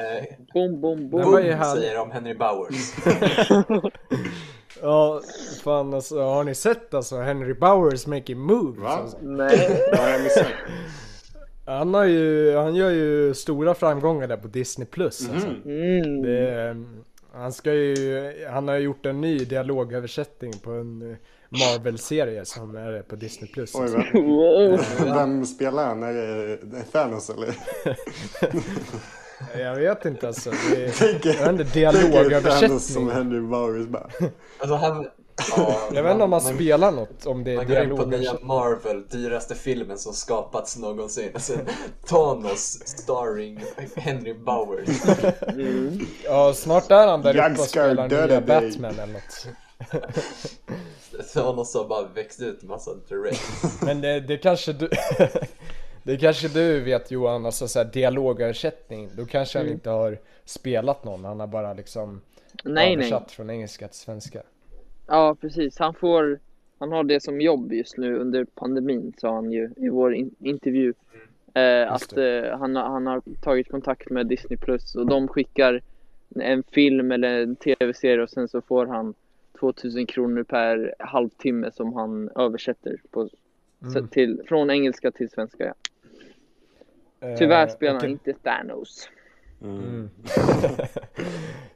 Bom, bom, Den var bom. ju boom härlig. säger jag om Henry Bowers. Ja, fan alltså, har ni sett alltså Henry Bowers making moves? Va? Alltså. Nej. Vad har jag missat? Han, har ju, han gör ju stora framgångar där på Disney+. Plus. Alltså. Mm. Det är, ehm, han, ska ju, han har gjort en ny dialogöversättning på en eh, Marvel-serie som är på Disney+. Plus. alltså. Oj, vem, Wow. vem spelar han? Är det det är Thanos eller? Jag vet inte alltså. Det är, Tänker- jag vet inte, tänker Thanos som dialogöversättning. Henry Bowers bara. Alltså han, Ja, Jag vet inte om man man- spelar något, om det är Man går in på dialoger. nya Marvel, dyraste filmen som skapats någonsin. Alltså, Thanos starring Henry Bowers. Ja, snart är han där Jag uppe och ska spelar döda nya dig. Batman eller något. Thanos har bara växt ut massa direkt. Men det, det kanske du... det kanske du vet Johan, alltså såhär dialogersättning. Då kanske Mm. han inte har spelat någon, han har bara liksom Nej, nej. översatt från engelska till svenska. Ja, precis. Han får... Han har det som jobb just nu under pandemin, sa han ju i vår in- intervju. Mm. Eh, att eh, han, har- han har tagit kontakt med Disney Plus och de skickar en film eller en tv-serie och sen så får han 2000 kronor per halvtimme som han översätter på, Mm. så- till, från engelska till svenska. Ja. Tyvärr Eh, spelar okej. han inte Thanos.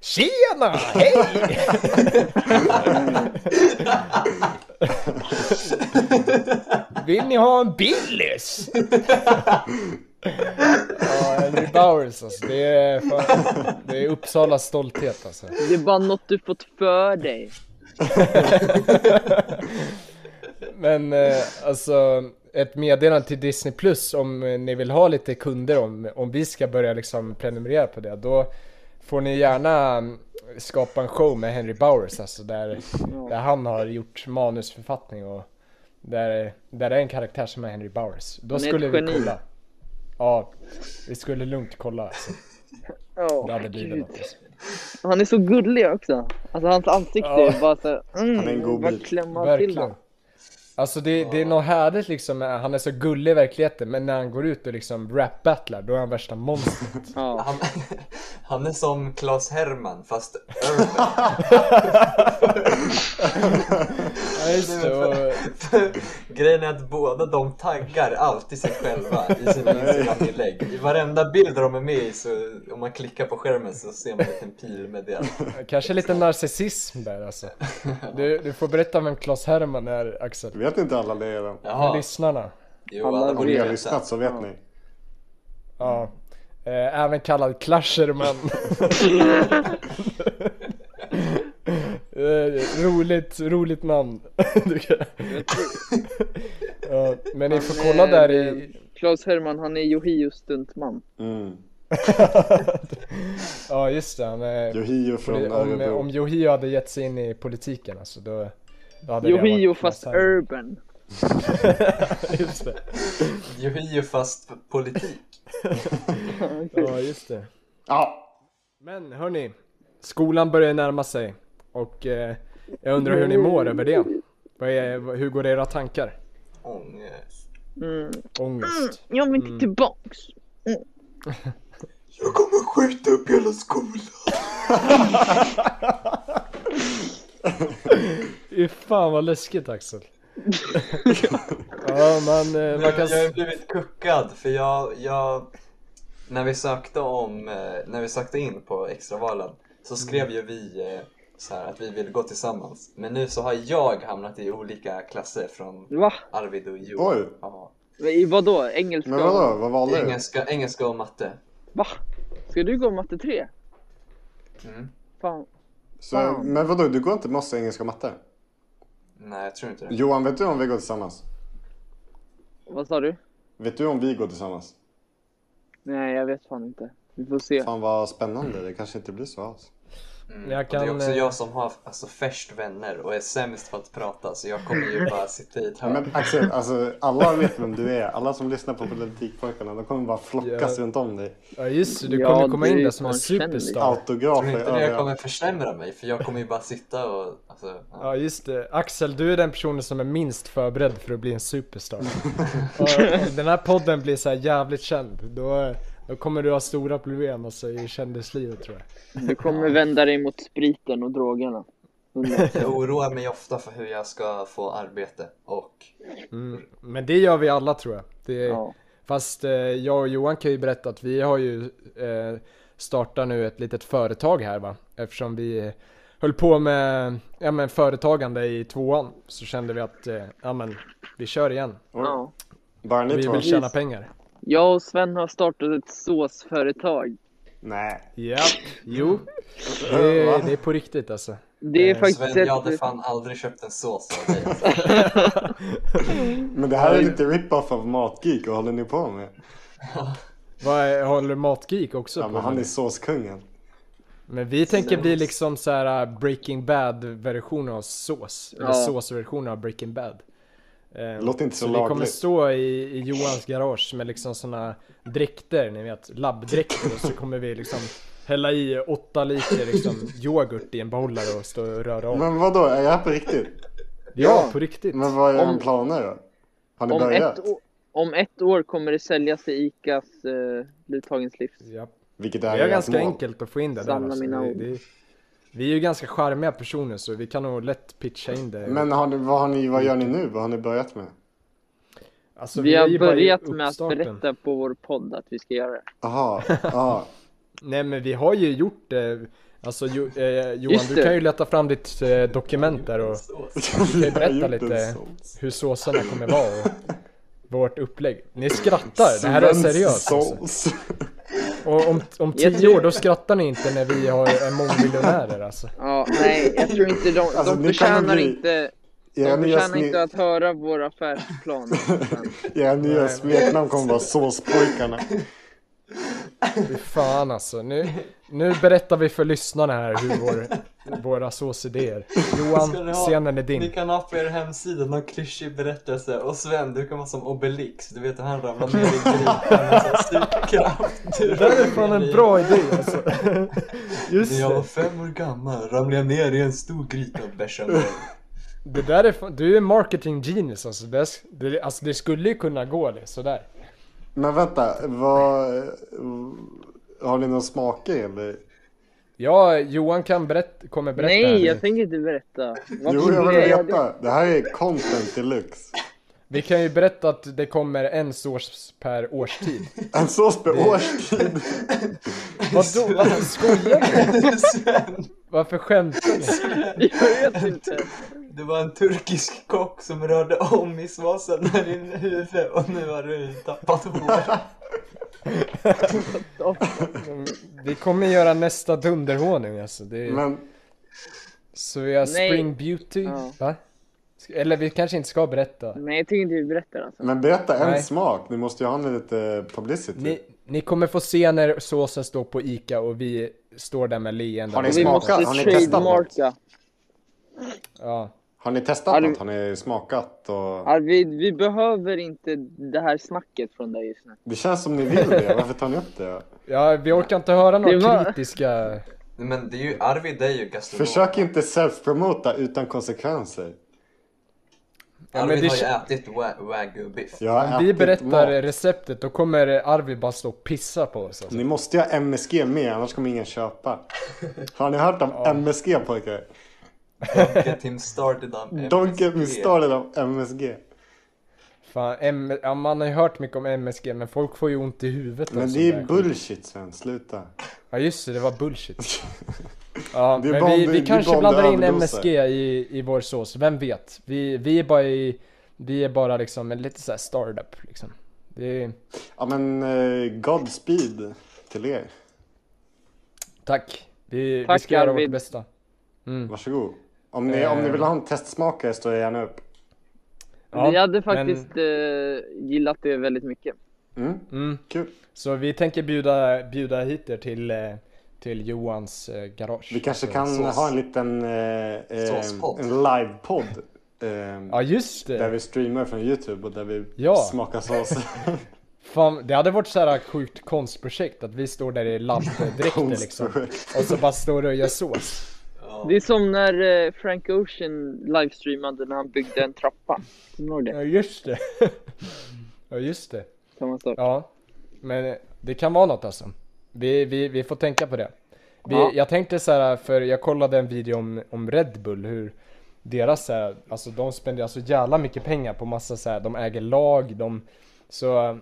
Tjena! Hej! Vill ni ha en Billys? ja, Henry Bowers alltså. Det är, fan, det är Uppsalas stolthet alltså. Det är bara något du fått för dig. Men eh, alltså, ett meddelande till Disney Plus om eh, ni vill ha lite kunder om, om vi ska börja liksom prenumerera på det. Då får ni gärna mm, skapa en show med Henry Bowers alltså där, där han har gjort manusförfattning och där, där det är en karaktär som är Henry Bowers. Då är ett skulle vi geni. kolla. Ja, vi skulle lugnt kolla alltså. Det Ja, hade blivit något. alltså. Han är så gullig också. Alltså hans ansikte Ja. är bara så mm, Han är en god bara bit. klämma till Verkligen. den. Alltså det, det är något härligt liksom, med- han är så gullig i verkligheten men när han går ut och liksom rap-battlar då är han värsta monstret. Ja. Han, han är som Claes Herman fast urban. Ja, just det, och, eh, Grejen är att båda de taggar alltid sig själva i sina Instagram-inlägg. I varenda bild de är med i så om man klickar på skärmen så ser man en liten pil med det. kanske lite narcissism där alltså. Du, du får berätta vem Claes Herman är Axel. För Vet inte alla det redan? Jaha, Lyssnarna. jo alla alla Om borde ni har veta. lyssnat så vet ni. Ja. Eh, även kallad Clasherman. eh, roligt, roligt namn. Du kan- ja, men eh, ni får kolla där i... Claes Herman, han är Johios stuntman. Mm. Ja just det, han är... Johio från Om, Örebro. om Johio hade gett sig in i politiken alltså då... då hade det Johio varit fast Claes Herman. urban. Just det. Johio fast politik. Ja just det. Ja, Men hörni, skolan börjar närma sig och eh, jag undrar hur ni mår över det. Vad är, hur går era tankar? Ångest. Ångest? Jag vill Mm. inte tillbaks. Jag kommer skjuta upp hela skolan. Fy fan vad läskigt Axel. ja man, eh, man kan... Jag har s- blivit kuckad för jag, jag när vi sökte om, eh, när vi sökte in på extravalen så Mm. skrev ju vi eh, så här att vi ville gå tillsammans. Men nu så har jag hamnat i olika klasser från Va? Arvid och Johan. oj. Ja. I vadå? Engelska? Men vadå, vad valde du? Engelska, engelska och matte. Va? Ska du gå matte 3? Mm. Fan. Så, men vadå, du går inte med oss i engelska och matte? Nej, jag tror inte det. Johan, vet du om vi går tillsammans? Vad sa du? Vet du om vi går tillsammans? Nej, jag vet fan inte. Vi får se. Fan vad spännande, det kanske inte blir så alls. Mm. Jag och det kan, är också eh, jag som har alltså, färst vänner och är sämst på att prata så jag kommer ju bara sitta i ett hörn. Men Axel, alltså, alla vet vem du är. Alla som lyssnar på Politikpojkarna, de kommer bara flockas Ja. runt om dig. Ja just det, du Ja, kommer komma du in är där som en fan liksom. kändis. superstar. Autografer Tror inte det överallt. kommer försämra mig för jag kommer ju bara sitta och alltså, ja. Ja just det, Axel du är den personen som är minst förberedd för att bli en superstar. och om den här podden blir så här jävligt känd, då, då kommer du ha stora problem alltså, i kändislivet tror jag. Du kommer vända dig mot spriten och drogerna. Hundra. Jag oroar mig ofta för hur jag ska få arbete och Men det gör vi alla tror jag. Det är, Ja. Fast eh, jag och Johan kan ju berätta att vi har ju eh, startat nu ett litet företag här va. Eftersom vi eh, höll på med ja, men företagande i tvåan så kände vi att eh, ja, men, vi kör igen. Ja. Bara ni Vi två? vill tjäna pengar. Jag och Sven har startat ett såsföretag. Nej. Ja, jo. Det, Va? är- det är på riktigt alltså. Det är Eh, faktiskt Sven, jag hade ett... fan aldrig köpt en sås av dig. alltså. Men det här är lite rip-off av Matgeek, vad håller ni på med? Vad är- håller Matgeek också Ja, på men han med? är såskungen. Men vi tänker bli liksom så här äh, Breaking Bad version av sås. Eller Ja. såsversion av Breaking Bad. Eh, Låter inte så vi kommer lagligt. stå i, i Johans garage med liksom såna dräkter, ni vet, labbdräkter och så kommer vi liksom hälla i åtta liter liksom yoghurt i en behållare och stå och röra om. Men vadå, är det här på riktigt? Ja, på riktigt. Men vad är Om- om... planer då? Har ni Om börjat? ett, år, om ett år kommer det säljas i ICAs eh, Luthagens livs. Ja. Vilket är Det är ert ganska mål? enkelt att få in det där. Sanna Alltså. mina Det, ord. det, vi är ju ganska charmiga personer så vi kan nog lätt pitcha in det. Men har ni, vad, har ni, vad gör ni nu? Vad har ni börjat med? alltså, vi är har ju bara i börjat med att uppstarten. berätta på vår podd att vi ska göra det. Jaha, ja. Nej men vi har ju gjort det. Alltså jo, eh, Johan, Just du det. kan ju leta fram ditt eh, dokument där och Vi har berätta gjort lite. en sås. hur såserna kommer vara och vårt upplägg. Ni skrattar, det här är Svensk seriöst. Alltså. sås. Och om, om Jag tio tror- år, då skrattar ni inte när vi har är mångmiljonärer alltså. Ja, nej, jag tror inte de, Alltså, de nu kan man förtjänar bli- inte... De Era nya, förtjänar inte smi- att höra vår affärsplan. era nya men- smeknamn kommer vara såspojkarna. Fy fan alltså. Nu, nu berättar vi för lyssnarna här hur vår, våra såsidéer. Ska ni Johan, ha- scenen är Ni din. kan ha på er hemsida någon klyschig berättelse och Sven du kan vara som Obelix, du vet hur han ramlar ner i gripen med sån superkraft. Du Det där är fan en bra idé alltså. Just När jag var det. fem år gammal ramlade jag ner i en stor gryta och bärsade mig. det där är fan, du är marketing genius alltså. Det, det, alltså det skulle ju kunna gå det sådär. Men vänta, vad... Har ni några smaker eller? Ja, Johan kan berätta, kommer berätta. här nej, nu. jag tänker inte berätta. Varför Jo, jag skulle vill göra det? veta. Det här är content deluxe. Vi kan ju berätta att det kommer en sås per årstid. En sås per årstid. Vadå? Varför skojar ni? Sven, Varför skämtar ni? Jag vet inte. det var en turkisk kock som rörde om i svasen när din huvud och nu har du tappat håret. Vi kommer göra nästa dunderhonung alltså. Det är... Men Så vi har Nej. Spring Beauty, Ja. va? Sk- Eller vi kanske inte ska berätta. Mm. Nej, jag tycker inte vi berättar alltså. Men berätta en Nej. smak, ni måste ju ha med lite publicity. Ni, ni kommer få se när såsen står på ICA och vi står där med leenden. Har ni Vi Smaka. måste Har ni testat trademarka. Ja. Har ni testat Har du- något? Har ni smakat? Och... Arvid, vi behöver inte det här snacket från dig just nu. Det känns som ni vill det, varför tar ni upp det? ja, vi orkar inte höra Det några var- kritiska... Men det är ju Arvid, det är ju gastronom. Försök inte self-promota utan konsekvenser. Ja, men Arvid det har ju kän- ätit wa- wagyu-biff. Jag har Vi ätit berättar mat. receptet, då kommer Arvid bara stå och pissa på oss alltså. Ni måste ju ha MSG med, annars kommer ingen köpa. Har ni hört om MSG pojkar? Get him started on Don't get me MSG. started om MSG. Fan, M- ja, man har ju hört mycket om MSG men folk får ju ont i huvudet alltså, av Men sån det där är skit. bullshit Sven, sluta. Ja just det, det var bullshit. Ja, Det är men bara om vi, du- vi det är kanske bara om du blandar in överdoser. MSG i, i vår sås, vem vet? Vi, vi är bara i, vi är bara liksom en lite såhär startup liksom. Det är, Ja men eh, Godspeed till er. tack! Vi, vi Tack, ska göra vårt Arvid. bästa. Varsågod. Om ni, om Eh. ni vill ha en testsmakare står jag gärna upp. Ja, vi hade men- faktiskt eh, gillat det väldigt mycket. Mm, Mm, kul. så vi tänker bjuda, bjuda hit er till, eh, till Johans eh, garage. Vi kanske Så- kan sås. ha en liten eh, eh, Såspodd. en livepodd. Eh, Ja just Där det! vi streamar från Youtube och där vi Ja. smakar sås. Fan, det hade varit såhär sjukt konstprojekt att vi står där i labbdräkter liksom. Konstprojekt. Och så bara står och gör sås. Det är som när eh, Frank Ocean livestreamade när han byggde en trappa. Kommer du ihåg det? Ja just det. Ja just det. Samma sak. Ja, men det kan vara något alltså. Vi, vi, vi får tänka på det. Vi, Ja. Jag tänkte så här, för jag kollade en video om, om Red Bull, hur deras så här, alltså de spenderar så jävla mycket pengar på massa så här, de äger lag, de så... eh,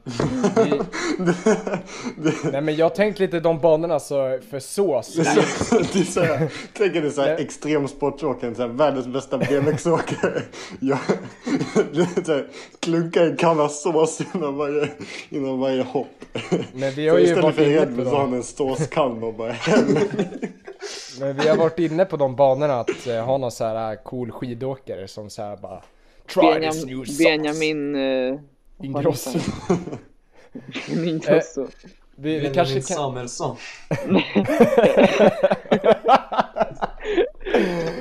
Vi, nej men jag tänkte lite de banorna så, för sås. Så- det är så här, tänk dig så här Nej. extremsportåkaren, så här, världens bästa BMX-åkare. Jag det är så här, klunkar en kanna sås innan varje, innan varje hopp. Men vi Så har ju istället varit för inne Red på Bull så har han dem. en såskann och bara häller. Men vi har varit inne på de banorna att eh, ha någon så här cool skidåkare som så här bara Try this new Benjamin... sauce. Benjamin eh, vad Ingrosso. heter han? Eh, Ingrosso. Vi, vi Benjamin kanske kan... Samuelsson.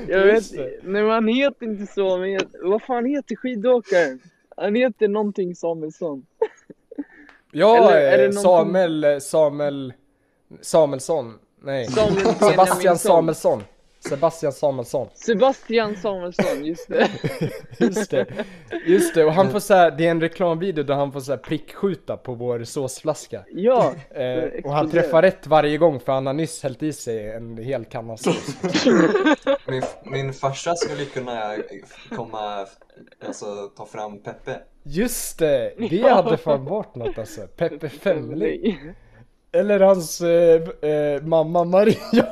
Jag vet Just det. nej, men han heter inte så, men jag, vad fan heter skidåkaren? Han heter någonting Samuelsson. Ja, Eller är det eh, någonting- Samuel, eh, Samuel, Samuelsson. Nej. Samuel Sebastian Benjaminsson. Samuelsson. Sebastian Samuelsson. Sebastian Samuelsson, just det. Just det. Just det, och han får så här, det är en reklamvideo där han får så här prickskjuta på vår såsflaska. Ja, Eh, och exploderar. han träffar rätt varje gång för han har nyss hällt i sig en hel kanna sås. Min, min farsa skulle kunna komma, alltså ta fram Peppe. Just det, det hade fan varit något alltså. Peppe Femling. Femling. Eller hans eh, eh, mamma Mariana.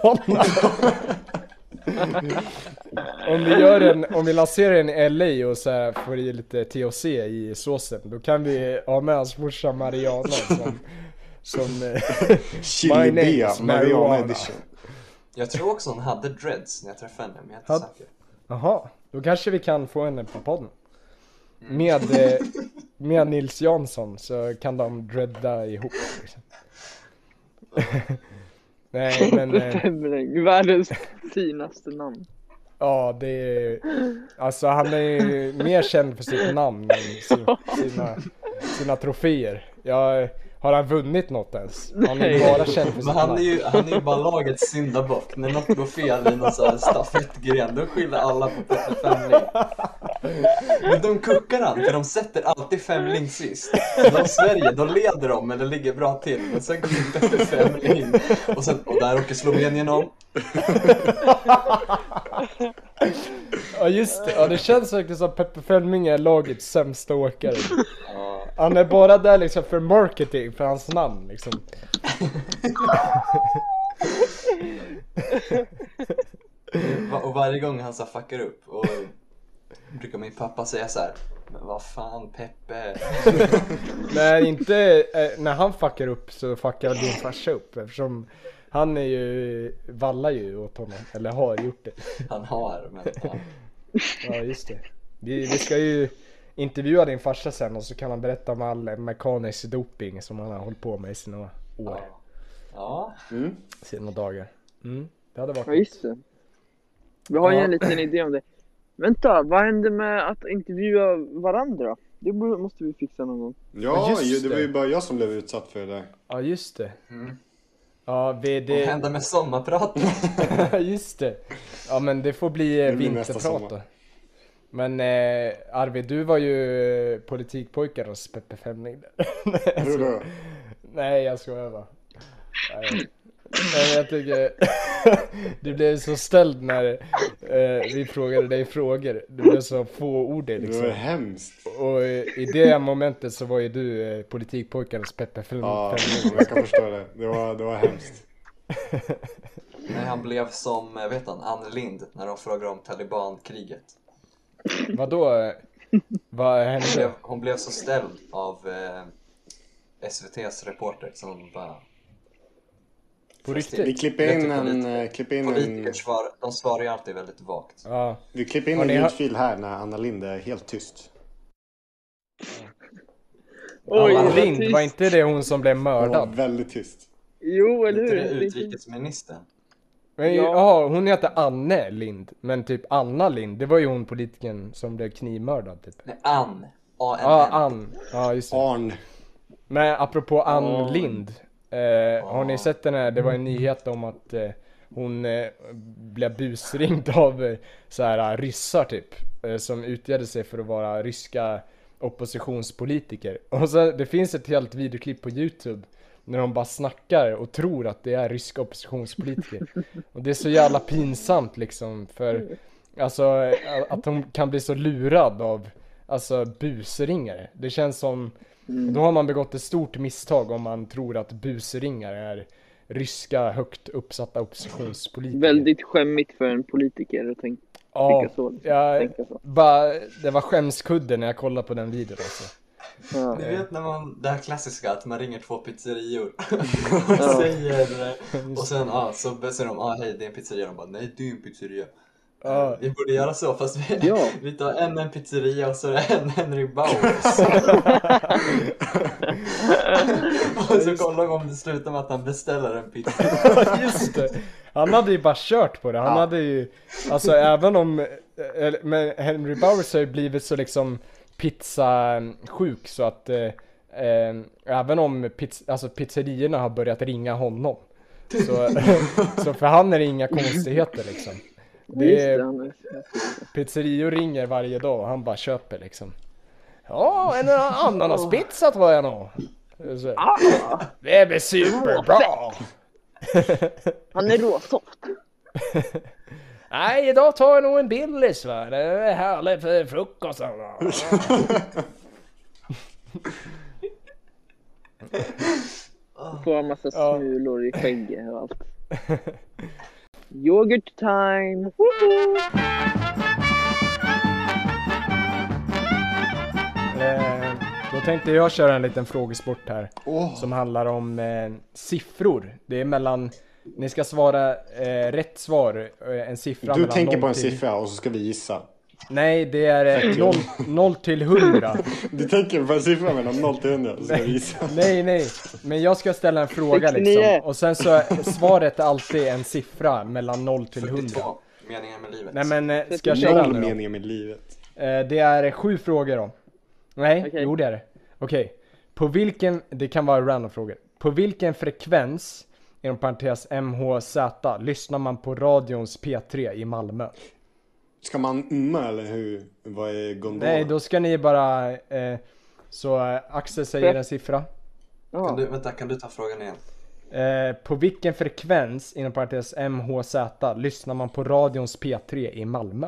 om, vi gör en, om vi lanserar en i LA och så här får i lite THC i såsen, då kan vi ha med hans morsa Mariana som, som eh, Chili My name Bea, is Mariana marijuana. edition. Jag tror också hon hade dreads när jag träffade henne, men jag är inte Hade- säker. Jaha, då kanske vi kan få henne på podden. Med, eh, med Nils Jansson så kan de dreada ihop. Liksom. Nej men, eh, Femling, världens finaste namn. ja det är Alltså han är ju mer känd för sitt namn än sin, sina, sina troféer. Jag, har han vunnit något ens? Han är ju Nej. bara känd för sitt Men han är namn. ju, han är ju bara lagets syndabock. När något går fel i någon sån här stafettgren, då skyller alla på Peppe Femling. Men de kuckar han, för de sätter alltid Femling sist. När de Sverige, då leder de, eller ligger bra till. Men sen kommer Peppe Femling in. Och, sen, och där åker Slovenien om. Ja just det, ja, det känns verkligen som Peppe Fällming är lagets sämsta åkare. Ja, Han är bara där liksom för marketing, för hans namn liksom. va- och varje gång han så här fuckar upp, och brukar min pappa säga så här. Men vad fan Peppe? Nej inte, eh, när han fuckar upp så fuckar väl din farsa upp eftersom han är ju, vallar ju åt honom, eller har gjort det. Han har, men ja. Ja just det. Vi, vi ska ju intervjua din farsa sen och så kan han berätta om all mekanisk doping som han har hållit på med i sina år, ja. Ja, sina dagar. Mm, det hade Ja, varit just det. Vi har ju Ja. en liten idé om det. Vänta, vad hände med att intervjua varandra? Det borde- måste vi fixa någon gång. Ja, Ja, just ju, det var det. ju bara jag som blev utsatt för det där. Ja just det. Ja vi, vad det, händer med sommarpratet? just det. Ja men det får bli eh, Det blir nästa vinterprat då. sommar. Men eh, Arvid, du var ju eh, politikpojkar hos Peppe Femling där. Nej, Hur då? Nej, jag skojar bara. Nej. Nej, jag tycker... Du blev så ställd när eh, vi frågade dig frågor. Du blev så fåordig Det var liksom. hemskt. Och eh, i det momentet så var ju du eh, politikpojkarens Peppe Fem- Ja, Femling. jag kan förstå det. Det var, det var hemskt. Nej, han blev som, eh, vet han, Ann Lind när de frågade om talibankriget. Vadå? eh, Vad hände? Hon blev, hon blev så ställd av eh, SVTs reporter som bara... På Vi riktigt? klipper in en... eh, Klipper in en Politiker svar, de svarar ju alltid väldigt vagt. Ja. vi klipper in Har en ni hört- ljudfil här när Anna Lindh är helt tyst. Oj, vad Lind, var tyst. inte det hon som blev Hon var mördad? väldigt Typ. tyst. Jo, eller Inte det hur? utrikesministern? Men, Ja. ja, hon heter Anne Lind, men typ Anna Lind, det var ju hon politikern som blev knivmördad typ. Nej, Ann. A-N-N. Ja, Ann. Ja, just det. Arn. Men apropå Ann Lind. Eh, Har ni sett den här, det var en nyhet om att eh, hon eh, blev busringd av eh, så här, ryssar typ. Eh, som utgav sig för att vara ryska oppositionspolitiker. Och så, det finns ett helt videoklipp på Youtube. När de bara snackar och tror att det är ryska oppositionspolitiker. Och det är så jävla pinsamt liksom för Alltså eh, att hon kan bli så lurad av Alltså busringare. Det känns som Mm. Då har man begått ett stort misstag om man tror att busringare är Ryska högt uppsatta oppositionspolitiker. Väldigt skämmigt för en politiker att tänka, ja, tycka så. jag, tänka så. bara, Det var skämskudde när jag kollade på den videon alltså. Ja. Ni vet när man, det här klassiska att man ringer två pizzerior och säger och sen ja, så säger de ah, hej det är en pizzeria, de bara nej det är en pizzeria. Ja. Vi borde göra så fast vi, Ja. vi tar en en pizzeria och så är det en Henry Bowers. och så kollar vi om det slutar med att han beställer en pizza. Just det. Han hade ju bara kört på det. Han hade ju, alltså även om, eh, eller, men Henry Bowers har ju blivit så liksom pizzasjuk så att eh, eh, även om pizz, alltså pizzerierna har börjat ringa honom. Så, så för han är det inga konstigheter liksom. Det Just det, är, han är... pizzerior ringer varje dag och han bara köper liksom. Ja, en ananaspizza tror jag nog. Så, Det blir superbra! Han är råsoft. Nej, idag tar jag nog en Billys va. Det är härligt för frukosten. va. Får en massa Ja. smulor i skägget och allt. Yoghurt time! Woo! Eh, Då tänkte jag köra en liten frågesport här. Som handlar om eh, siffror. Det är mellan... Ni ska svara eh, rätt svar, eh, en siffra Du mellan tänker noll på en till... siffra och så ska vi gissa. Nej, det är 0, 0 till 100. Du tänker på en siffra mellan 0 till 100 och så ska vi gissa. Nej, nej. Men jag ska ställa en fråga liksom. 69. Och sen så är svaret är alltid en siffra mellan 0 till 100. 42, meningen med livet. Nej men eh, ska jag köra Noll nu då? meningar med livet. Eh, Det är sju frågor då. Nej, Okej. jo det är det. Okej. På vilken, det kan vara random frågor. På vilken frekvens, inom parentes MHZ, lyssnar man på radions P3 i Malmö? Ska man umma eller hur? Vad är gondola? Nej, då ska ni bara... Eh, så eh, Axel säger en siffra. Kan Ja. du, vänta, kan du ta frågan igen? Eh, på vilken frekvens, inom parentes MHZ, lyssnar man på radions P3 i Malmö?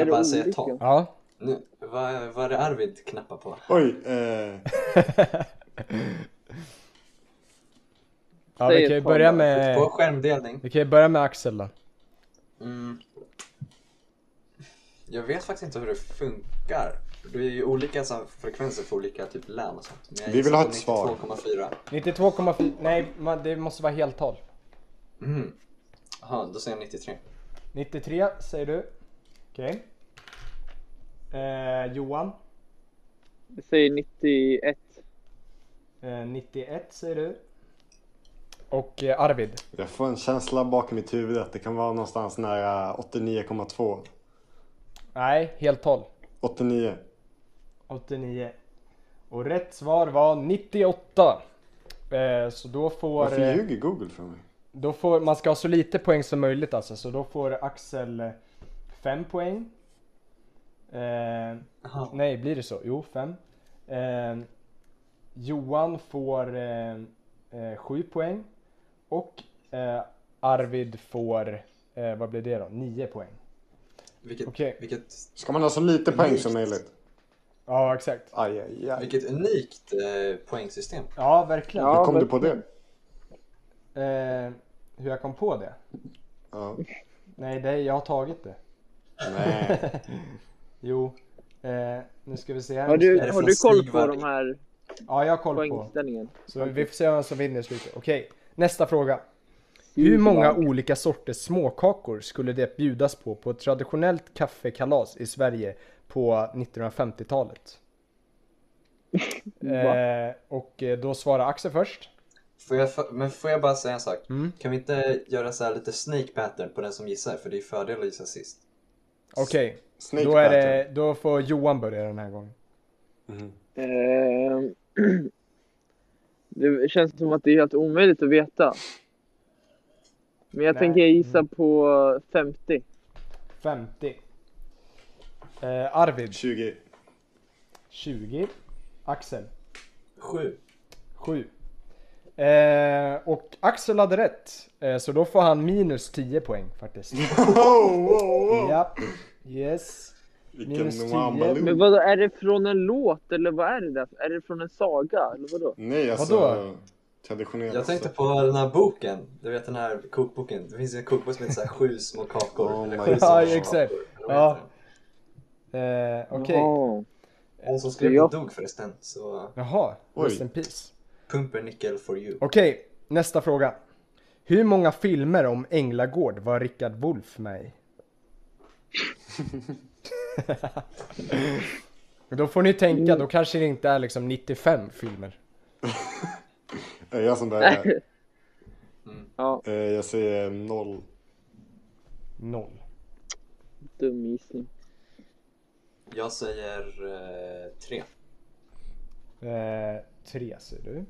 Är jag det bara säga olika? topp? Ja. Nu, vad, vad är det Arvid knappar på? Oj, eh, ja vi Säg kan ju ett tal börja då. med... På skärmdelning? Vi kan ju börja med Axel då. Mm. Jag vet faktiskt inte hur det funkar. Det är ju olika så här, frekvenser för olika typ län och sånt. Men jag Vi vill gissar ha på ett svar. 92,4. 92,4... Nej, man, det måste vara heltal. Mm. Jaha, då säger jag 93. 93 säger du. Okej. Eh, Johan. Jag säger 91. Eh, 91 säger du. Och eh, Arvid. jag får en känsla bakom mitt huvud att det kan vara någonstans nära 89,2. Nej, heltal. 89. 89. Och rätt svar var 98. Eh, så då får, Varför eh, ljuger Google för mig? då får... Man ska ha så lite poäng som möjligt alltså. Så då får Axel 5 poäng. Eh, Jaha. Nej, blir det så? Jo, fem. Eh, Johan får eh, eh, sju poäng. Och eh, Arvid får, eh, vad blir det då? Nio poäng. Vilket, Okej. vilket, Ska man ha så lite poäng som möjligt? Ja, exakt. Aj, aj, aj. vilket unikt eh, poängsystem. Ja, verkligen. Ja. Hur kom du på det? Eh, hur jag kom på det? Ja. Nej, det, jag har tagit det. Nej. Jo, eh, nu ska vi se här. Har Nu du, ska- det har från du koll på Stigvall? de här Ja, jag har koll på. poängställningen? Så vi får se vem som vinner i slutet. Okej, nästa fråga. Hur många olika sorters småkakor skulle det bjudas på på ett traditionellt kaffekalas i Sverige på 1950-talet? eh, och eh, då svarar Axel först. Får jag, för- men får jag bara säga en sak? Mm. Kan vi inte göra så här lite sneak pattern på den som gissar? För det är fördel att gissa sist. Okej, Snake då, är pattern. det, då får Johan börja den här gången. Ehm, Det känns som att det är helt omöjligt att veta. Men jag Nej. Mm. tänker gissa på 50. 50. Eh, Arvid 20. 20. Axel Sju. 7. Eh, och Axel hade rätt, eh, så då får han minus 10 poäng faktiskt. Oh, wow, wow. Ja, yes. minus Vilken 10. Men wambaloo. vadå, är det från en låt eller vad är det där? Är det från en saga eller vadå? Nej, alltså. Vadå? Traditionellt. Jag tänkte på den här boken. Du vet den här kokboken. Det finns ju en kokbok som heter så här, Sju små kakor. Oh eller my sju god. små Ja, kakor, exakt. eller vad Ja. heter Eh, Okej, Ja. Hon som skrev Ja. det dog förresten, så Jaha, Oj. rest in peace. Pumpernickel for you. Okej, nästa fråga. Hur många filmer om Änglagård var Rickard Wolff med i? då får ni tänka, då kanske det inte är liksom 95 filmer. Är det Eh, jag som börjar? Ja, Eh, jag säger noll. Noll. dum gissning. Jag säger eh, tre. Eh, tre ser du.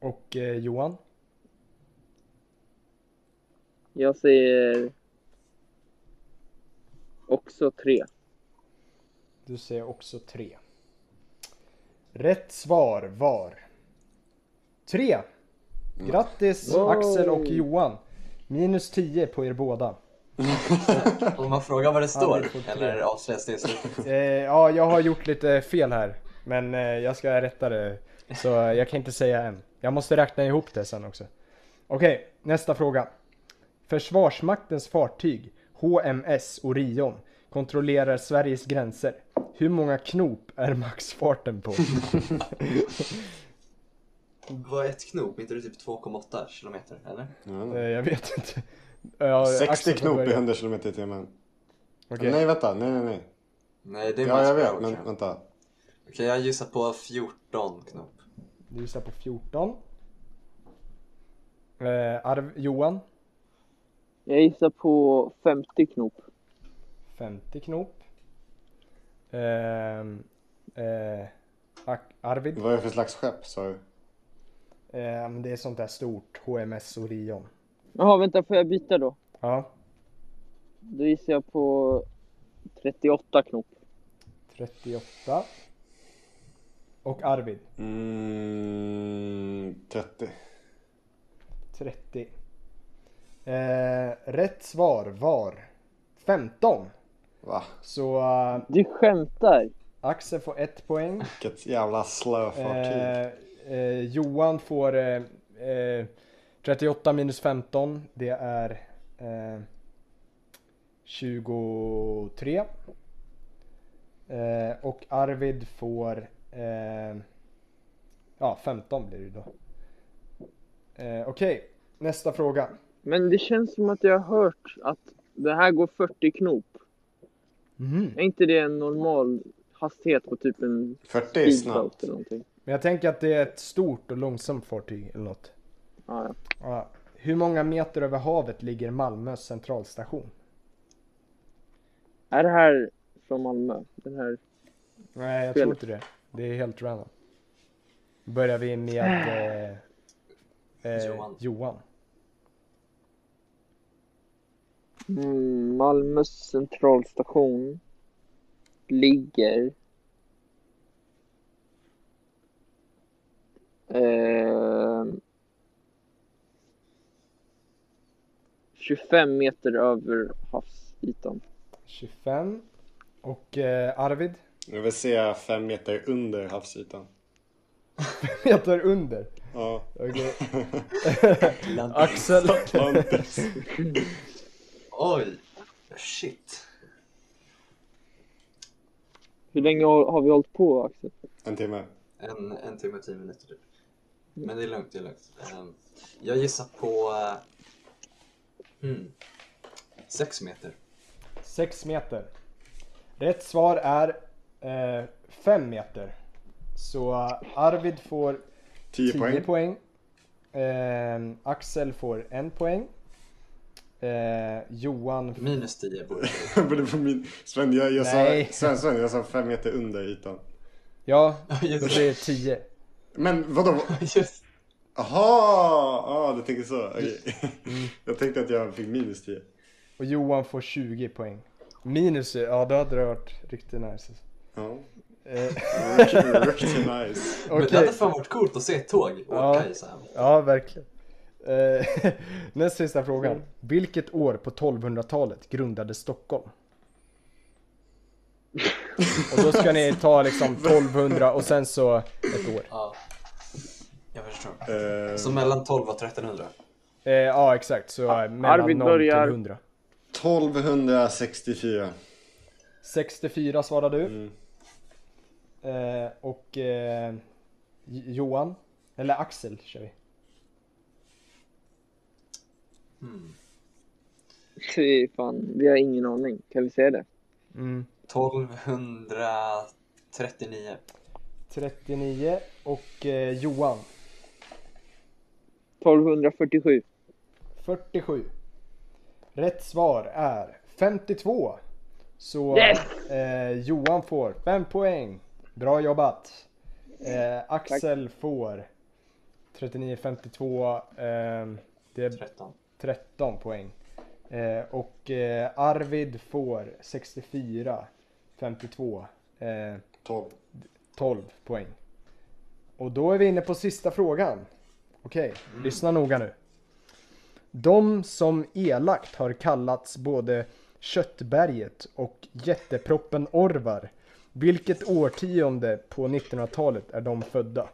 Och eh, Johan? Jag säger också tre. Du säger också tre. Rätt svar var tre. Grattis Wow. Axel och Johan. Minus 10 på er båda. Om man frågar vad det det står, får tre. eller avslöjas det i slutet? Eh, ja, jag har gjort lite fel här. Men eh, jag ska rätta det. Så eh, jag kan inte säga än. Jag måste räkna ihop det sen också. Okej, nästa fråga. Försvarsmaktens fartyg HMS Orion kontrollerar Sveriges gränser. Hur många knop är maxfarten på? Vad är ett knop? Är inte det typ 2,8 kilometer, eller? Ja. Eh, Jag vet inte. Ja, 60 Axel får knop i börja. 100 km i timmen. Okej. Nej, vänta. Nej, nej, nej. Nej, det är Ja, jag maxfart, vet, tror men vänta. Okej, jag gissar på 14 knop. Du gissar på 14. Eh, Arv, Johan, Jag gissar på 50 knop. 50 knop. Ehm, eh, Ak- Arvid, Vad är det för slags skepp, sa du? eh, men det är sånt där stort. HMS Orion. Jaha, vänta, får jag byta då? Ja, Då gissar jag på 38 knop. 38. Och Arvid, Mm, 30. 30. Eh, rätt svar var 15. Va? Så eh, Du skämtar? Axel får ett poäng. Vilket jävla slöfartyg. Eh, eh, Johan får eh, eh, 38 minus 15. Det är eh, 23. Eh, och Arvid får eh, ja, 15 blir det då. Eh, Okej, nästa fråga. Men det känns som att jag har hört att det här går 40 knop. Är inte det en normal hastighet på typ en 40 är speedboat snabbt. eller någonting? Men jag tänker att det är ett stort och långsamt fartyg eller något. Ja, ja. Ja. Hur många meter över havet ligger Malmös centralstation? Är det här från Malmö? Den här... Nej, jag Fel. tror inte det. Det är helt random. Börjar vi med eh, eh, Johan. Johan. Mm, Malmös centralstation ligger... ehm, 25 meter över havsytan. 25. Och eh, Arvid? Jag vill se 5 meter under havsytan. Meter under. Ja. Okej. Atlantis. Axel? Atlantis. Oj! Shit. Hur länge har har vi hållit på Axel? En timme. En, en timme och tio minuter typ. Men det är lugnt, det är lugnt. Ehm, jag gissar på... eh, hmm, sex meter. 6 meter. Rätt svar är 5 meter. Så eh, Arvid får 10 10 poäng. poäng. Eh, Axel får 1 poäng. Eh, Johan Minus tio borde det Jag borde få min... Sven, jag, jag Nej. sa... Sven, Sven, jag sa 5 meter under ytan. Ja, vara. då Just blir det 10. Men vadå? det. Just. Aha! Ja, du tänker så. Okej. Jag tänkte att jag fick minus 10. Och Johan får 20 poäng. Minus, ja då hade det varit riktigt nice. Ja. Eh, Riktigt nice. Okej, Men det hade fan varit coolt att se ett tåg åka Ja. i så här. ja verkligen. Eh, näst sista frågan. Vilket år på 1200-talet grundades Stockholm? Och då ska ni ta liksom 1200 och sen så ett år. Ja. Jag förstår. Eh, Så mellan 12 och 1300? Eh, ja exakt, så eh, mellan Arvid 0 till börjar. 100. 1264. 64 svarar du. Mm. Eh, och eh, J- Johan, eller Axel kör vi. Fy fan, vi har ingen aning. Kan vi säga det? 1239. 39 och eh, Johan, 1247. 47. Rätt svar är 52. Så Yes! eh, Johan får 5 poäng. Bra jobbat. Eh, Axel får 39-52. ehm, det är 13. 13 poäng. Eh, och eh, Arvid får 64, 52, eh, 12. 12 poäng. Och då är vi inne på sista frågan. Okej, lyssna noga nu. De som elakt har kallats både Köttberget och Jätteproppen Orvar. Vilket årtionde på 1900-talet är de födda?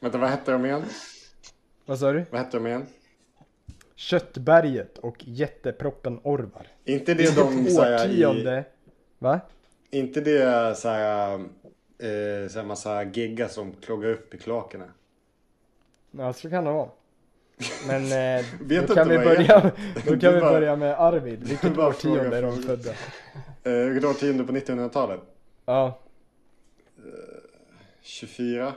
Vänta, vad hette de igen? Vad sa du? Vad hette de igen? Köttberget och Jätteproppen Orvar. Inte det de så här, i, typ Årtionde. Va? Inte det så här, eh, så här massa geggar som kloggar upp i kloakerna. Ja, så kan det vara. Men eh, Vet då kan, inte vi vad jag börja, då Du kan vi bara- börja med Arvid. Vilket bara årtionde frågar är de frågor. födda? Eh, Vilket årtionde på 1900-talet? Ja. 24?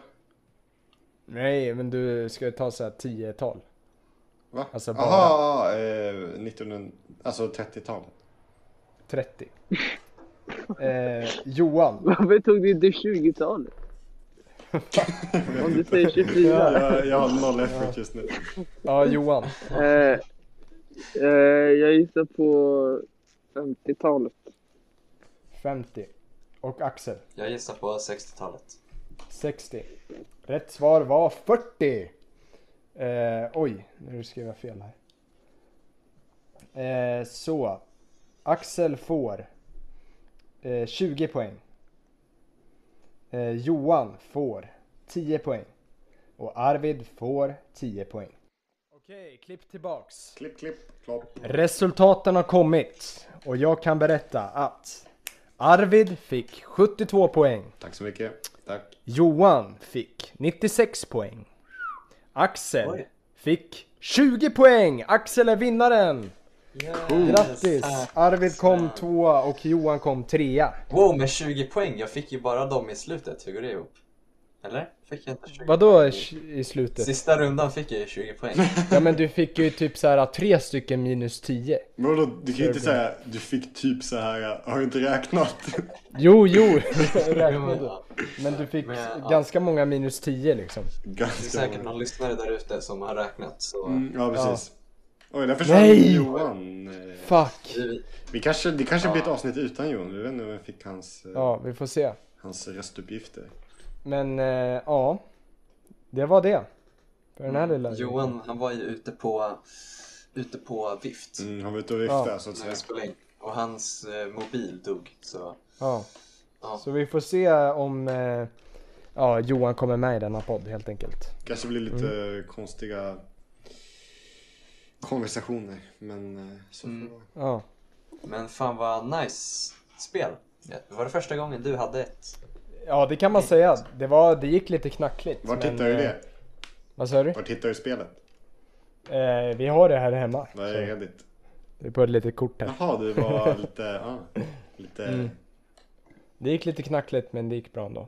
Nej, men du ska ju ta så här 10-tal. Va? Alltså Alltså bara- bara... Aha, eh, 1900, alltså 30-talet. 30. Eh, Johan. Varför tog du inte 20-talet? Om du säger 24. Jag, jag har noll effort just nu. Ja, Johan. Eh, eh, jag gissar på 50-talet. 50. Och Axel. Jag gissar på 60-talet. 60. Rätt svar var 40. Eh, oj, nu skrev jag fel här. Eh, så. Axel får eh, 20 poäng. Eh, Johan får 10 poäng. Och Arvid får 10 poäng. Okej, klipp tillbaks. Klipp, klipp, klopp. Resultaten har kommit och jag kan berätta att Arvid fick 72 poäng. Tack så mycket. Tack. Johan fick 96 poäng. Axel Oj. fick 20 poäng! Axel är vinnaren! Grattis! Arvid kom tvåa och Johan kom trea. Wow, med 20 poäng! Jag fick ju bara dem i slutet. Hur går det ihop? Eller? Fick jag inte 20 Vadå poäng? i slutet? Sista rundan fick jag ju 20 poäng. Ja men du fick ju typ så här tre stycken minus 10. Men vadå, du kan ju inte säga du fick typ så här, har du inte räknat? Jo, jo, räknade. Ja, Men du fick Men, ja. ganska många minus 10 liksom. Det är Ganska säkert många. någon lyssnare där ute som har räknat så Mm, Ja, precis. Oj, där försvann Nej! Johan. Eh, Fuck! vi, Vi kanske, det kanske blir ett Ja. avsnitt utan Johan. Vi vet inte vem fick hans, eh, Ja, vi får se. hans röstuppgifter. Men eh, ja, det var det. För den här lilla... Johan han var ju ute på, ute på vift Mm, han var ute och viftade Ja. så att när säga. vi spelade in och hans eh, mobil dog så Ja. Ja. Så vi får se om eh, ja, Johan kommer med i denna podd helt enkelt. Kanske blir lite Mm. konstiga konversationer. Men eh, så Mm. får det vara. Ja, men fan vad nice spel. Ja, Var det första gången du hade ett? ja det kan man säga. Det, var, det gick lite knackligt. Vart men, hittar du eh, det? Vad sa du? Vart hittar du spelet? Eh, vi har det här hemma. Vad är Så Reddit? Det är på ett litet kort här. Jaha, du var lite, ja, lite... Mm. Det gick lite knackligt men det gick bra ändå.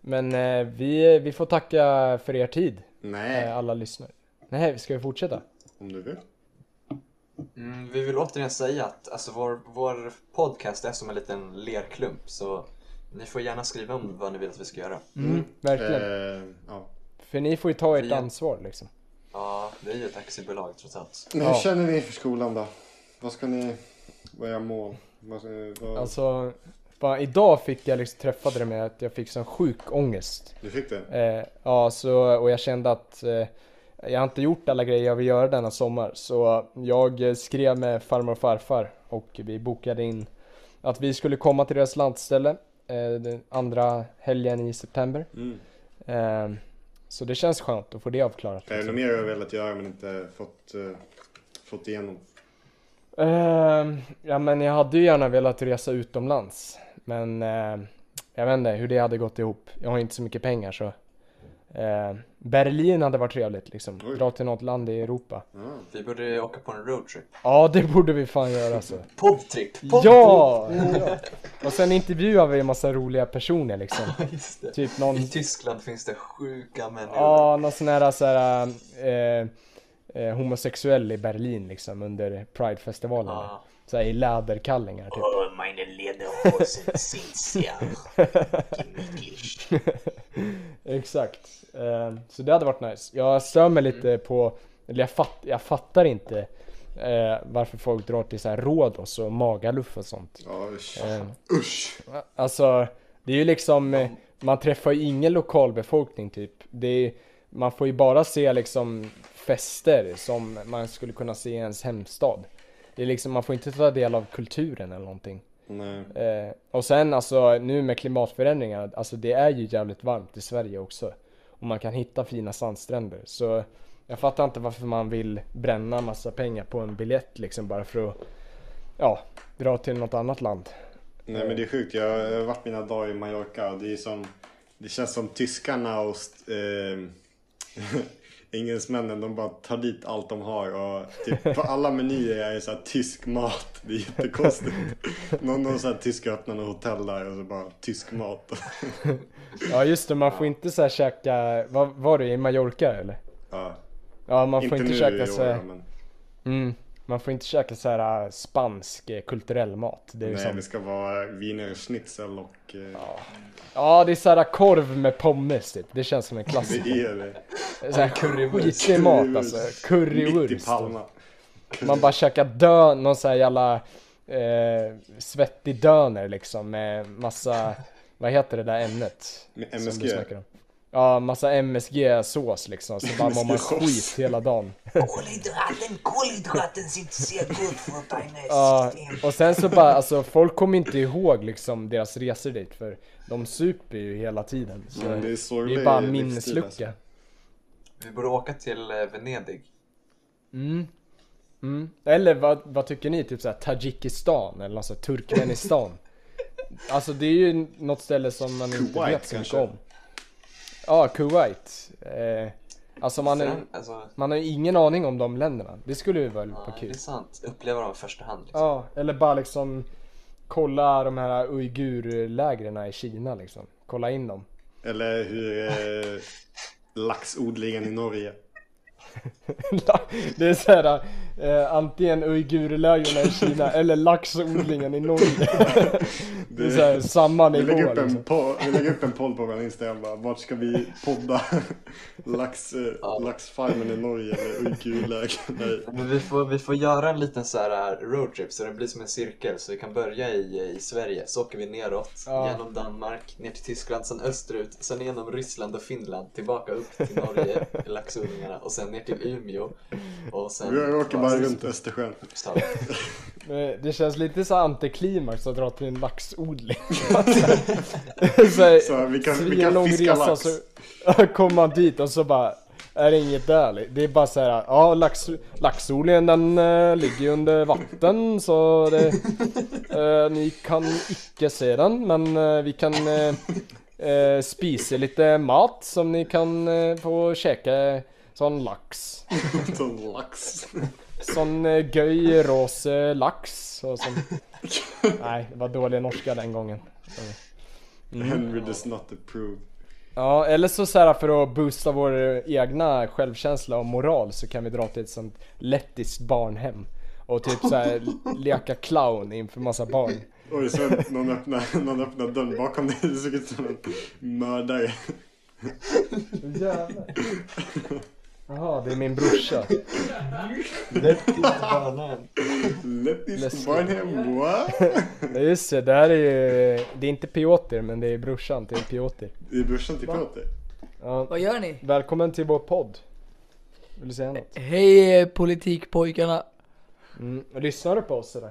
Men eh, vi, vi får tacka för er tid, eh, Nej, alla lyssnare. Nej, ska vi fortsätta? om du vill. Mm, vi vill återigen säga att alltså, vår, vår podcast är som en liten lerklump så ni får gärna skriva om vad ni vill att vi ska göra. Verkligen. Eh, ja. För ni får ju ta ert vi- ansvar liksom. Ja, det är ju ett aktiebolag trots allt. Men Ja. hur känner ni för skolan då? Vad ska ni... Vad är era mål? Vad, ska ni- vad, Alltså, fan, idag fick jag liksom, träffade det med att jag fick sån sjuk ångest. Du fick det? Eh, ja, så, och jag kände att eh, jag har inte gjort alla grejer jag vill göra denna sommar. Så jag eh, skrev med farmor och farfar och vi bokade in att vi skulle komma till deras landställe eh, den andra helgen i september. Mm. Eh, så det känns skönt att få det avklarat. Är det något mer du har velat göra men inte fått, eh, fått igenom? Ehm, ja men jag hade ju gärna velat resa utomlands. Men eh, jag vet inte hur det hade gått ihop. Jag har inte så mycket pengar så. Eh, Berlin hade varit trevligt liksom. Oj. Dra till något land i Europa. Ah, Vi borde åka på en roadtrip. Ja det borde vi fan göra alltså. Poptrip! Ja! ja! Och sen intervjuar vi en massa roliga personer liksom. Just det. Typ någon I Tyskland finns det sjuka människor. Ja, någon sån här, så här eh, eh, homosexuell i Berlin liksom under Pride-festivalen. Ja. Så här i läderkallingar typ. Oh, meine Lederhosen sind sehr gemütlich. Exakt. Eh, så det hade varit nice. Jag stör mig lite på, eller jag, fatt, jag fattar inte eh, varför folk drar till så här Rhodos och Magaluf och sånt. Ja, usch. Eh, usch. Alltså, det är ju liksom, eh, man träffar ju ingen lokalbefolkning typ. Det är, man får ju bara se liksom fester som man skulle kunna se i ens hemstad. Det är liksom, man får inte ta del av kulturen eller någonting. Nej. Eh, och sen alltså nu med klimatförändringarna, alltså det är ju jävligt varmt i Sverige också. Och man kan hitta fina sandstränder. Så jag fattar inte varför man vill bränna massa pengar på en biljett liksom bara för att, ja, dra till något annat land. Nej men det är sjukt, jag har varit mina dagar i Mallorca och det är som Det känns som tyskarna och st- eh, engelsmännen, de bara tar dit allt de har och typ på alla menyer är det så här tysk mat. Det är jättekonstigt. Någon, någon så här tysk öppnar något hotell där och så bara tysk mat. Ja just det, man får inte så här käka, vad var det i Mallorca eller? ja. Ja man får inte, i år, käka så här, men mm, man får inte käka så här äh, spansk eh, kulturell mat. Det är ju Nej det sånt. ska vara wiener schnitzel och eh, Ja det är så här korv med pommes typ, det känns som en klassiker. det är det. Så här currywurst. skitig mat alltså, Mitt i currywurst. Palma. Man bara käkar dö, någon så här jävla eh, svettig döner liksom med massa, vad heter det där ämnet? Med som du MSG. snackar om? Ja, massa MSG-sås liksom, så bara mår man MSG-sås. skit hela dagen. Kolhydraten, kolhydraten sitter sehr gut für deine Ja, System. och sen så bara, alltså folk kommer inte ihåg liksom deras resor dit för de super ju hela tiden. Så Men det det, är är sorglig bara livsstil, alltså. minneslucka. Vi borde åka till eh, Venedig. Mm. Mm. Eller vad, vad tycker ni? Typ såhär Tadzjikistan eller alltså Turkmenistan? alltså det är ju något ställe som man inte Kuwait, vet så mycket kanske? om. Ja, Kuwait. Eh, alltså man, är, Sen, alltså, man har ju ingen aning om de länderna. Det skulle ju väl ja, vara det är kul. sant. Uppleva dem i första hand. Liksom. Ja, eller bara liksom kolla de här uigurlägren i Kina liksom. Kolla in dem. Eller hur eh, laxodlingen i Norge. det är såhär, eh, antingen uigurlägren i Kina eller laxodlingen i Norge. Det är såhär, samma Vi nivå lägger, upp liksom. en po- vi lägger upp en poll på vår Instagram bara, vart ska vi podda? Lax, eh, Laxfarmen i Norge eller Uigulägen? Nej. Men vi får, vi får göra en liten så här eh, roadtrip så det blir som en cirkel. Så vi kan börja i, eh, i Sverige, så åker vi neråt, Ja. genom Danmark, ner till Tyskland, sen österut, sen genom Ryssland och Finland, tillbaka upp till Norge, laxodlingarna och sen ner till Umeå. Och sen Vi åker bara tillbaka till runt Östersjön. Uppsala. Eh, Det känns lite så här antiklimax att dra till en laxodling. så här, Så här, vi kan- vi kan svinlång fiska resa, lax. Så kommer man dit och så bara är det inget där. Det är bara så här, ja lax, laxodlingen den eh, ligger ju under vatten så det, eh, ni kan icke se den men eh, vi kan eh, eh, spisa lite mat som ni kan eh, få käka sån lax. Som lax. Mm. Sån eh, göj rås eh, lax och sån... Nej, det var dålig norska den gången. Henry does not approve. Ja, eller så, så här för att boosta vår eh, egna självkänsla och moral så kan vi dra till ett sånt lettiskt barnhem. Och typ så här leka clown inför massa barn. Oj, så någon öppnar, någon öppnar dörren bakom dig. Det såg ut som en mördare. Jävlar. Jaha, det är min brorsa. Let this Läskigt. barnhem, what? Ja, Just det, det här är ju... Det är inte Piotr, men det är brorsan till Piotr. Det är brorsan till Peter. Ja, Vad gör ni? välkommen till vår podd. Vill du säga något? Hej eh, politikpojkarna! Mm. Lyssnar du på oss eller?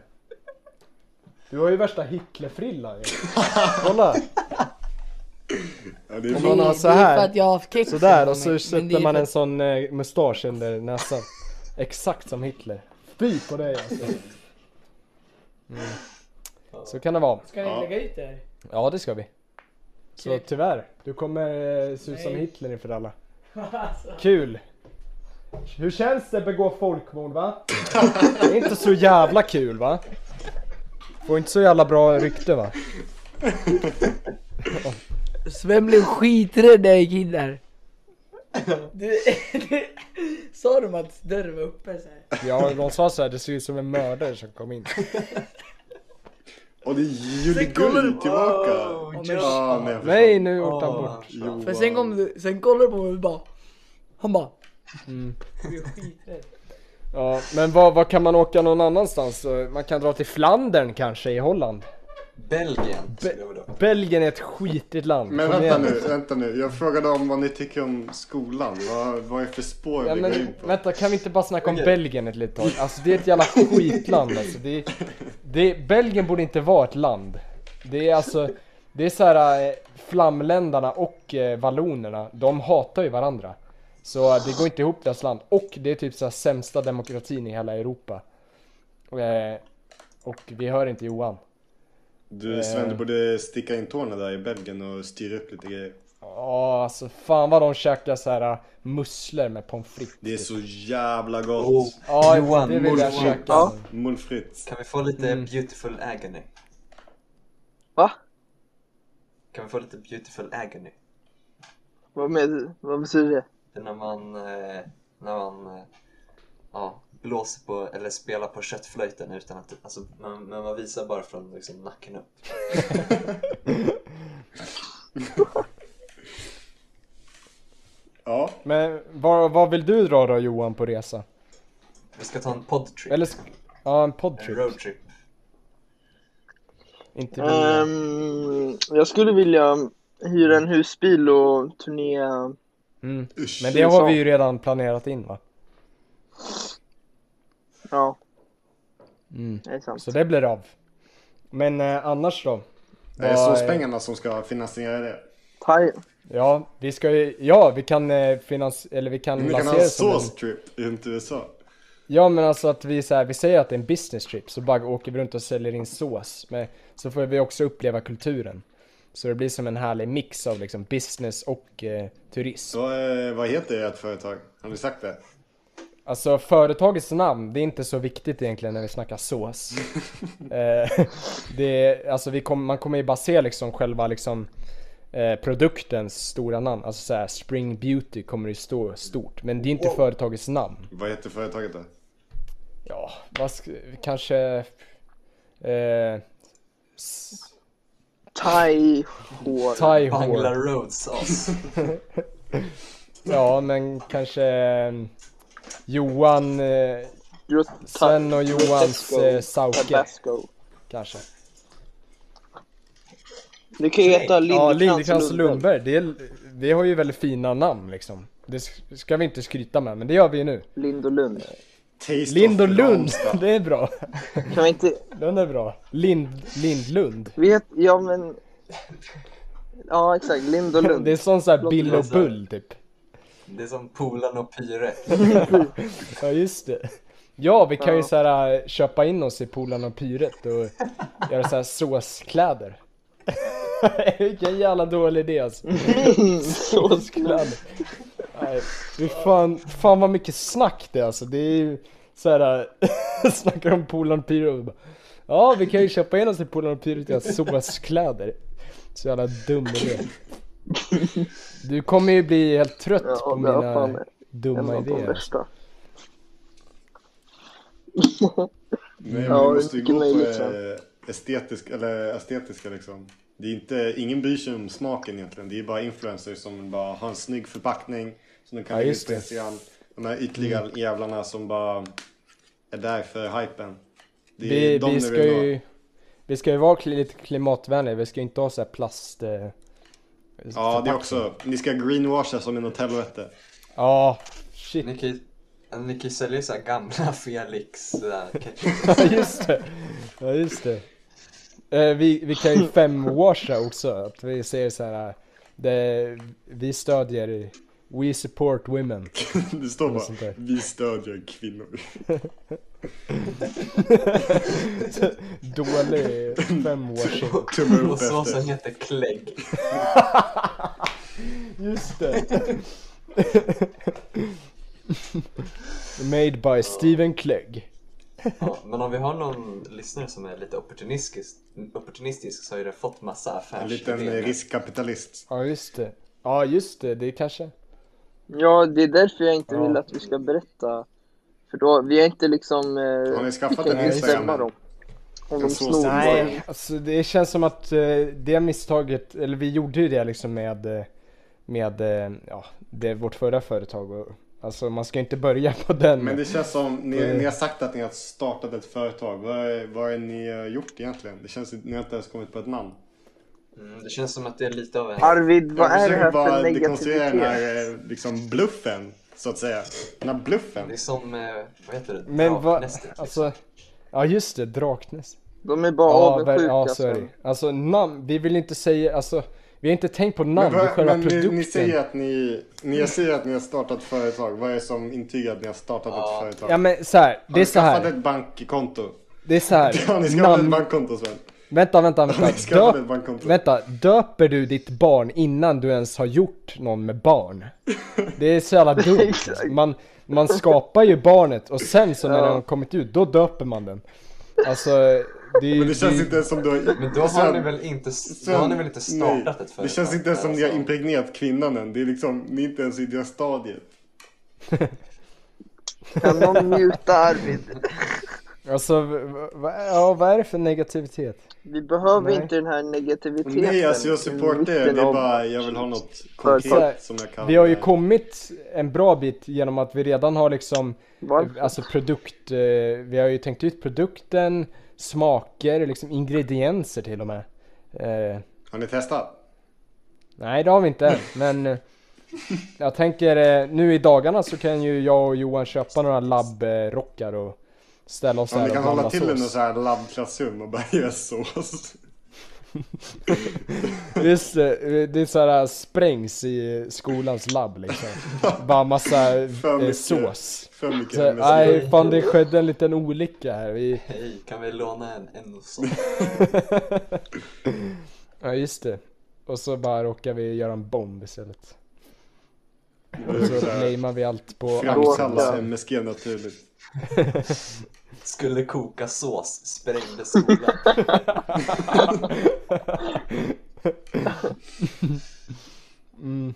Du har ju värsta Hitlerfrillan ju. Kolla! Ja, det är Om fan- man har Det- så det är här. för att jag har haft kex Sådär och på så mig. Men det är sätter man för en sån eh, mustasch under näsan. Exakt som Hitler. Fy på dig alltså. Mm. Så kan det vara. Ska ni Ja. lägga ut det här? Ja, det ska vi. Så Okej. tyvärr, du kommer eh, se ut som Nej. Hitler inför alla. Alltså, Kul! Hur känns det att begå folkmord va? Det är inte så jävla kul va? Får inte så jävla bra rykte va? Sven blev skiträdd när jag gick in där. Du, du, sa de att dörren var uppe så här? Ja, de sa såhär, det ser ut som en mördare som kom in. Och det är Julie Sen kommer du- Gull tillbaka! Oh, Ja, Joshua. men jag förstår. Nej, nu åkte Ah. han Åh, bort. Johan. För sen kom du, sen kollade du på mig och bara Han bara Mm. Du är skiträdd Ja, men vad, vad kan man åka någon annanstans? Eh, Man kan dra till Flandern kanske i Holland. Belgien skulle jag vilja ha. Belgien är ett skitigt land. Men Kom vänta igen. nu, vänta nu. Jag frågade om vad ni tycker om skolan. Vad, vad är det för spår Ja, vi går in men, på? vänta, kan vi inte bara snacka om Okej. Belgien ett litet tag? Alltså det är ett jävla skitland alltså. Det, är- det, är- Belgien borde inte vara ett land. Det är alltså, det är så här eh, flamländarna och eh, vallonerna, de hatar ju varandra. Så eh, det går inte ihop deras land. Och det är typ så här sämsta demokratin i hela Europa. Eh, och vi hör inte Johan. Du Sven, du borde sticka in tårna där i Belgien och styra upp lite grejer. Ja, alltså fan vad de käkar så här eh, musslor med pommes frites. Det är så jävla gott! Oh, Ja, Johan, det vill jag Mm. Johan. käka. Ja. Moules frites. Kan vi få lite beautiful agony? Va? Kan vi få lite beautiful agony? Vad menar du? Vad betyder det? Det är när man, eh, när man eh, ja, blåser på eller spelar på köttflöjten utan att, alltså, man, men man visar bara från liksom, nacken upp. Ja, Men vad, vad vill du dra då Johan på resa? Vi ska ta en podtrip, Eller sk- ja, en en podtrip. roadtrip. Inte vi. Ehm, jag skulle vilja hyra en husbil och turnera. Mm. usch. Men det har vi ju redan planerat in va? Ja, Mm. det är sant. Så det blir av. Men eh, annars då? Det är Vad- SOS-pengarna som ska finansiera det. Thai. Ja, vi ska ju, ja vi kan eh, finans, eller vi kan Ni kan Mm. lansera ha en det som en, sås-trip runt USA. Ja men alltså att vi så här, vi säger att det är en business trip så bara åker vi runt och säljer in sås. Men så får vi också uppleva kulturen. Så det blir som en härlig mix av liksom business och eh, turism. Så, eh, vad heter ert företag? Har ni sagt det? Alltså företagets namn, det är inte så viktigt egentligen när vi snackar sås. eh, det är, alltså vi kom, man kommer ju bara se liksom själva liksom eh, produktens stora namn. Alltså såhär Spring Beauty kommer det stå stort. Men det är inte företagets namn. Vad heter företaget då? Ja, vad sk- kanske... Eh, s- Thai hår. Thai Bangla hår. road sauce. Ja men kanske... eh, Johan... Eh, Grot- Sven och Grotesco. Johans eh, Sauke Tabasco. kanske. Det kan ju heta Ja, Liljekrans Liljekrans och och Lundberg. Lundberg, det, är, det har ju väldigt fina namn liksom. Det sk- ska vi inte skryta med, men det gör vi ju nu. Lind och Lund. Taste Lind och of Lund, Ramstad. det är bra. Kan vi inte... Den är bra. Lind, Lindlund. Vi heter... Ja, men... Ja, exakt. Lind och Lund. Det är sån sån här Låter Bill och som- Bull typ. Det är som Polan och Pyre. Ja just det. Ja, vi kan ju Ja. så här äh, köpa in oss i Polan och Pyret och göra så här såskläder. Vilken jävla dålig idé alltså. Såskläder. Nej, fy fan, fan vad mycket snack det är alltså. Det är ju så här äh, snackar om Polan och Pyret och bara, ja vi kan ju köpa in oss i Polan och Pyret och göra såskläder. Så jävla dum idé. Du kommer ju bli helt trött Ja, på det var mina fan en dumma av de idéer. alltså. värsta. Nej, men Ja, vi måste ju mycket gå på möjligt, eh, estetisk, eller estetiska liksom. Det är inte, ingen bryr sig om smaken egentligen. Det är bara influencers som bara har en snygg förpackning som de kan Ja, lägga just ut på det. Mm. Instagram. De här ytliga jävlarna som bara är där för hypen. Det är Vi, de vi, ni ska vill nå. ju, vi ska ju vara kli- lite klimatvänliga, vi ska ju inte ha så här plast... Eh, Ja, det förpackning. är också. Ni ska greenwasha som en hotellvette. Ja, shit. Ni kan ju- ni kan ju sälja så här gamla Felix eh, ketchup. Ja, just det. Ja, just det. Eh, vi, vi kan ju femwasha också, att vi säger så här. eh, Det, vi stödjer, we support women. Det står Något sånt bara där. vi stödjer kvinnor. Dålig femårsing. Tummar upp Och såsen efter. heter klägg. Just det. Made by Steven Clegg. Ja, men om vi har någon lyssnare som är lite opportunistisk, opportunistisk så har ju det fått massa En affärsidéer. liten eh, riskkapitalist. Ja just det. Ja just det, det kanske. Ja, det är därför jag inte Ja. vill att vi ska berätta. För då, vi är inte liksom... Eh, Har ni skaffat vi en kan inte Instagram? stämma dem. Om de Jag såg snor så- vår- Nej. Alltså det känns som att eh, det misstaget, eller vi gjorde ju det liksom med, eh, med eh, ja, det, vårt förra företag. Och, alltså man ska inte börja på den. Men det känns som ni, Eh. ni har sagt att ni har startat ett företag. Vad är- vad har ni eh, gjort egentligen? Det känns ni har inte ens kommit på ett namn. Mm, det känns som att det är lite av en... Arvid, vad Jag är det försöker här bara för dekonstruera den negativitet? här eh, liksom bluffen, så att säga. Den här Det bluffen. är som, eh, vad heter det? Men vad, Draknästet, liksom. alltså. Ja just det, Draknäs. De är bara Ja, ver- avundsjuka. ja alltså. sorry. Alltså namn, vi vill inte säga, alltså. Vi har inte tänkt på namn, Men, det är vad, själva men ni, produkten. ni säger att ni, ni säger att ni har startat företag. Vad är det som intygar att ni har startat ett företag? Ja men så här, har det är ni så skaffat här. ett bankkonto? Det är så Har ni här. skaffat ett namn... bankkonto Sven? Vänta, vänta, vänta. ni skaffat Döp- ett bankkonto? Vänta, döper du ditt barn innan du ens har gjort någon med barn? Det är så jävla dumt. Man, man skapar ju barnet och sen så när den har kommit ut, då döper man den. Alltså, det är Men det känns inte ens som du har... Men då har Sven, ni väl inte, då Sven, har ni väl inte startat nej. ett företag? Det känns inte ens som ni har Alltså, impregnerat kvinnan än. Det är liksom, ni är inte ens i det stadiet. Kan någon muta Arvid? Alltså, v- v- vad är- ja, vad är det för negativitet? Vi behöver Nej. inte den här negativiteten. Nej, alltså jag i supportar er. mitten Det är av- bara, jag vill ha något Så här, konkret som jag kan... Vi har ju eh, kommit en bra bit genom att vi redan har liksom Varför? Alltså produkt, eh, vi har ju tänkt ut produkten, smaker, liksom ingredienser till och med. Eh, Har ni testat? nej det har vi inte än, men eh, jag tänker eh, nu i dagarna så kan ju jag och Johan köpa några labbrockar och ställa oss Om där ni och kan blanda hålla till i sås. någon så här labbklassrum och bara göra sås. Just det, det är så här eh, sprängs i skolans labb liksom. Bara massa För eh, mycket. sås. För mycket Så, MSG. nej, fan det skedde en liten olycka här. Vi, Hej, kan vi låna en, en sån? ja just det. Och så bara råkar vi göra en bomb istället. Och så blamear vi allt på Framkalla Fråga. MSG naturligt. Skulle koka sås, sprängde skolan. Mm. Eh.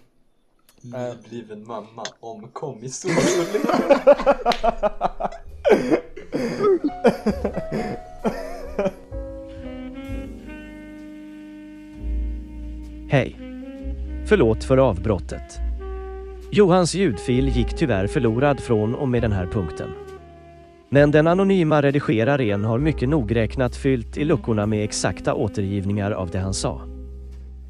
Nybliven mamma, omkom i såsolycka. Hej. Förlåt för avbrottet. Johans ljudfil gick tyvärr förlorad från och med den här punkten. Men den anonyma redigeraren har mycket nogräknat fyllt i luckorna med exakta återgivningar av det han sa.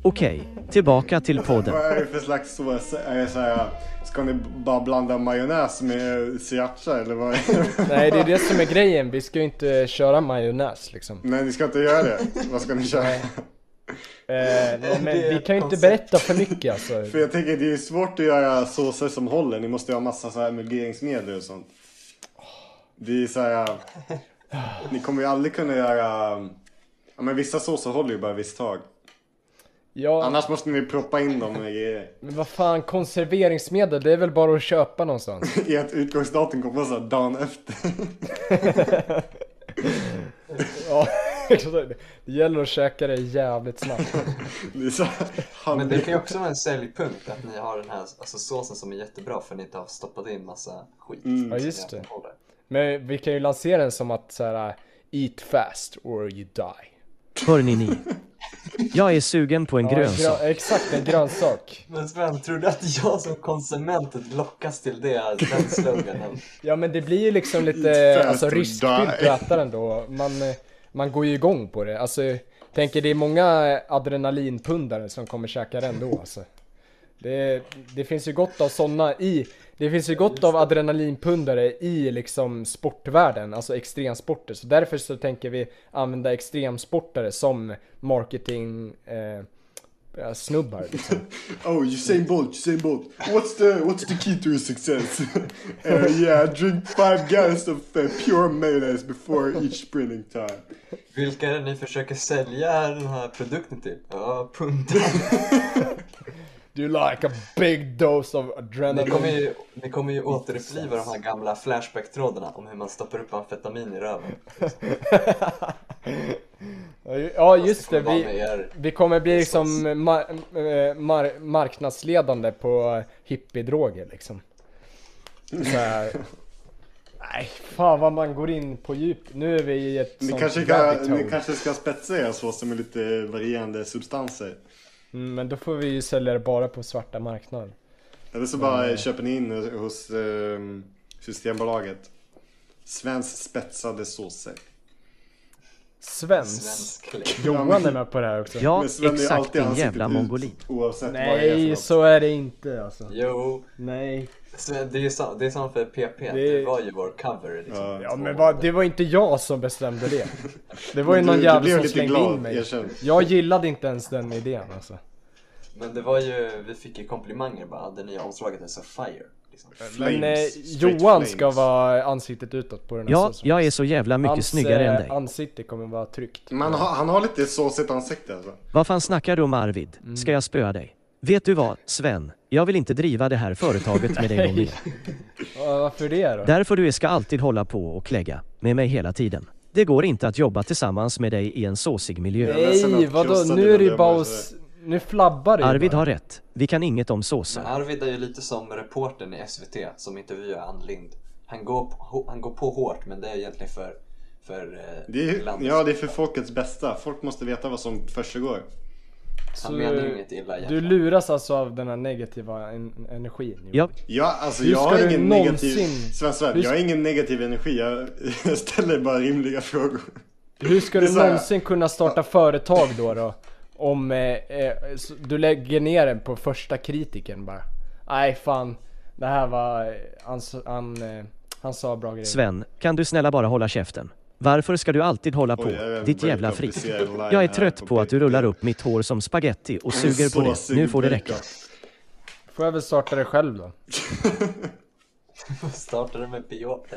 Okej, tillbaka till podden. Vad är det för slags sås? Är det så här, ska ni bara blanda majonnäs med sriracha eller vad är det? Nej det är det som är grejen, vi ska ju inte köra majonnäs liksom. Nej, ni ska inte göra det. Vad ska ni köra? Eh, nej, men Det är vi kan ju inte koncept. berätta för mycket alltså. För jag tänker det är svårt att göra såser som håller. Ni måste ju ha massa så här emulgeringsmedel och sånt. Det är så här. Ni kommer ju aldrig kunna göra. Ja, men vissa såser håller ju bara ett visst tag. Ja, Annars måste ni proppa in dem i, men vad fan konserveringsmedel, det är väl bara att köpa någonstans? i ett utgångsdatum kommer så här dagen efter. Ja, exakt. det gäller att käka det jävligt snabbt. Det är så här, Men det kan ju också vara en säljpunkt att ni har den här alltså, såsen som är jättebra för att ni inte har stoppat in massa skit. Mm. Ja just det. Men vi kan ju lansera den som att såhär Eat fast or you die. Hör ni ni? Jag är sugen på en Ja, grönsak. grön- Exakt, en grönsak. Men Sven, tror du att jag som konsument lockas till det, den sloganen? Ja men det blir ju liksom Eat lite fast alltså, or riskfyllt die. att äta den då. Man, eh, man går ju igång på det. Alltså, jag tänker det är många adrenalinpundare som kommer käka den då alltså. Det, det finns ju gott av sådana i, det finns ju gott av adrenalinpundare i liksom sportvärlden, alltså extremsporter. Så därför så tänker vi använda extremsportare som marketing eh, Ja, snubbar liksom. Oh, Usain Bolt, Usain Bolt. What's the what's the key to your success? uh, yeah, drink five gallons of uh, pure mayonnaise before each sprinting time. Vilka är det ni försöker sälja den här produkten till? Ja, punta. Do you like a big dose of Ni kommer adrenaline? ju, ni kommer ju återuppliva de här gamla Flashback-trådarna om hur man stoppar upp amfetamin i röven. ja just det, Kommer vara vi, med er. Vi kommer bli liksom ma- eh, mar- marknadsledande på hippiedroger liksom. Så här. Nej, fan vad man går in på djup. Nu är vi i ett Ni sånt kanske, rabbit kan, hole. ni kanske ska spetsa er sås med lite varierande substanser. Mm, Men då får vi ju sälja det bara på svarta marknaden. Eller så bara köper ni in hos eh, Systembolaget. Svensk spetsade såser. Svens. Svensk klick. Johan är med på det här också. Ja, Men Sven är ju exakt alltid din ansiktet jävla ut, mongolin. Mm. Oavsett vad det är för Nej, något. så är det inte alltså. Jo, Nej. Sven- det är ju sam- det är samma för PP, det... det var ju vår cover liksom. Ja. Ja men vad, det var inte jag som bestämde det. Det var ju Men någon du- du jävel blev som lite slängde glad, in mig. erkänn. Jag gillade inte ens den idén alltså. Men det var ju, vi fick ju komplimanger bara, det nya omslaget är så fire. Liksom. Men eh, Flames, straight Johan ska flames. vara ansiktet utåt på den här Ja, såsen. jag är så jävla mycket Hans, snyggare eh, än dig. ansikte kommer vara tryckt. Man har, han har lite såsigt ansikte alltså. Vad fan snackar du om Arvid? Ska jag spöa dig? Vet du vad, Sven? Jag vill inte driva det här företaget med dig någon mer. Ja, varför det då? Därför du ska alltid hålla på och klägga med mig hela tiden. Det går inte att jobba tillsammans med dig i en såsig miljö. är ledsen Nej, att vadå? krossa Nu dina är det ju bara drömmar, att... s- Nu flabbar det ju Arvid bara. har rätt. Vi kan inget om såser. Men Arvid är ju lite som reportern i SVT som intervjuar Ann Lind. Han går, på, han går på hårt men det är egentligen för, för eh, Det är, landets- ja, det är för folkets bästa. Folk måste veta vad som försiggår. Så Han menar ju inget illa Du egentligen. luras alltså av den här negativa en- energin? Johan. Jag, Ja, alltså Hur jag ska har du ingen någonsin- negativ... Sven, Sven, Hur- jag har ingen negativ energi. Jag, jag ställer bara rimliga frågor. Hur ska Det är du så här- någonsin kunna starta företag då? då? Om eh, eh, s- du lägger ner den på första kritiken bara. Nej fan, det här var... eh, Han, s- han, eh, han sa bra grejer. Sven, kan du snälla bara hålla käften? Varför ska du alltid hålla på? Oj, jag är Ditt väldigt jävla frit. applicerad line Jag är här trött på på att du Peter. rullar upp mitt hår som spaghetti och suger på det. Såsig Nu får det räcka. breakup. Får jag väl starta det själv då? Startade med Piotr.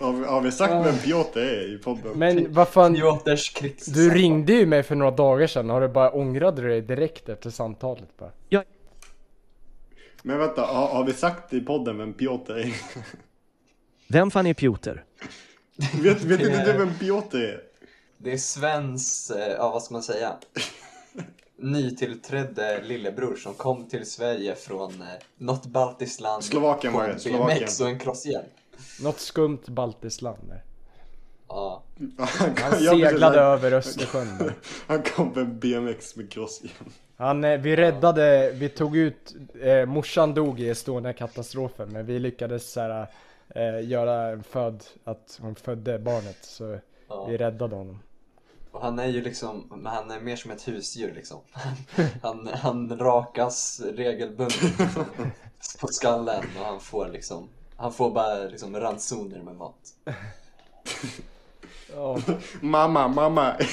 Har, vi- har vi sagt vem Piotr är i podden? Men vad fan, Piotrs krigs... du ringde ju mig för några dagar sedan. Har du bara ångrat dig direkt efter samtalet bara? Jag, Men vänta, har, har vi sagt i podden vem Piotr är? vem fan är Piotr? vet, vet inte du vem Piotr är? Det är Svens, eh, ja vad ska man säga? Nytillträdde lillebror som kom till Sverige från eh, något baltiskt land. Slovakien på var det, en Slovakien. BMX och en crosshjälm. Något skumt baltiskt land där. Ja. Han, Han jag blir så seglade här- över Östersjön där. Han kom på en BMX med crosshjälm. Han, eh, vi räddade, vi tog ut, eh, morsan dog i Estonia-katastrofen men vi lyckades så här, eh, göra en född, att hon födde barnet så Ja. vi räddade honom. Och han är ju liksom, men han är mer som ett husdjur liksom. Han, han rakas regelbundet liksom, på skallen och han får liksom, han får bara liksom ransoner med mat. Ja, Mamma, mamma!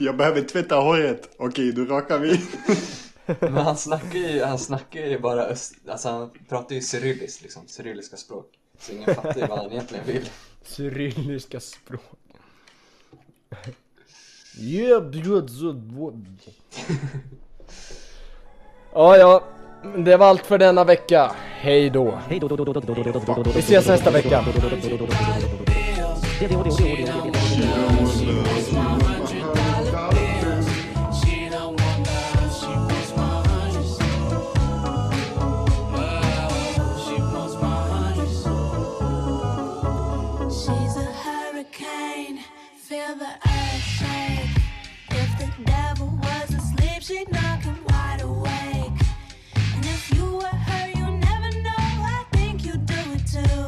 jag behöver tvätta håret. Okej, då rakar vi. Men han snackar ju, han snackar ju bara öst, alltså han pratar ju cyrilliskt liksom, cyrilliska språk. Så ingen fattar ju vad han egentligen vill. cyrilliska språk. Yeah, blood, blood, blood. Ja, ja, det var allt för denna vecka. Hej då! Hej då, då, då, då, då, då, då, då, då, då, då. Vi ses nästa vecka. She don't want love, she wants my hundreds. Love, she wants my hundreds. She's a hurricane, feel the earth shake. If the devil was asleep, she'd knock him wide awake. And if you were her, you never know. I think you'd do it too.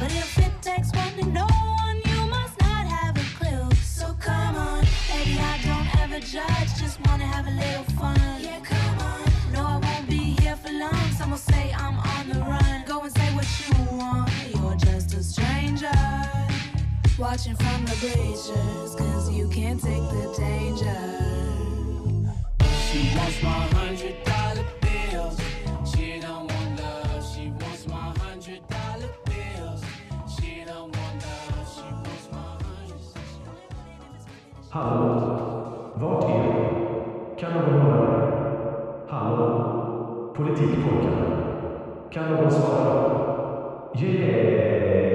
But if it takes one to know one, you must not have a clue. So come on, baby, I don't ever judge. Just wanna have a little fun. Yeah, come on. No, I won't be here for long. Some will say I'm on the run. Go and say what you want. You're just a stranger watching from the bleachers, cause you can't take the danger. She wants my hundred dollar bills. She don't want love. She wants my hundred dollar bills. She don't want love. She wants my hundred. Politikpojkarna. Kan någon svara? Yeah!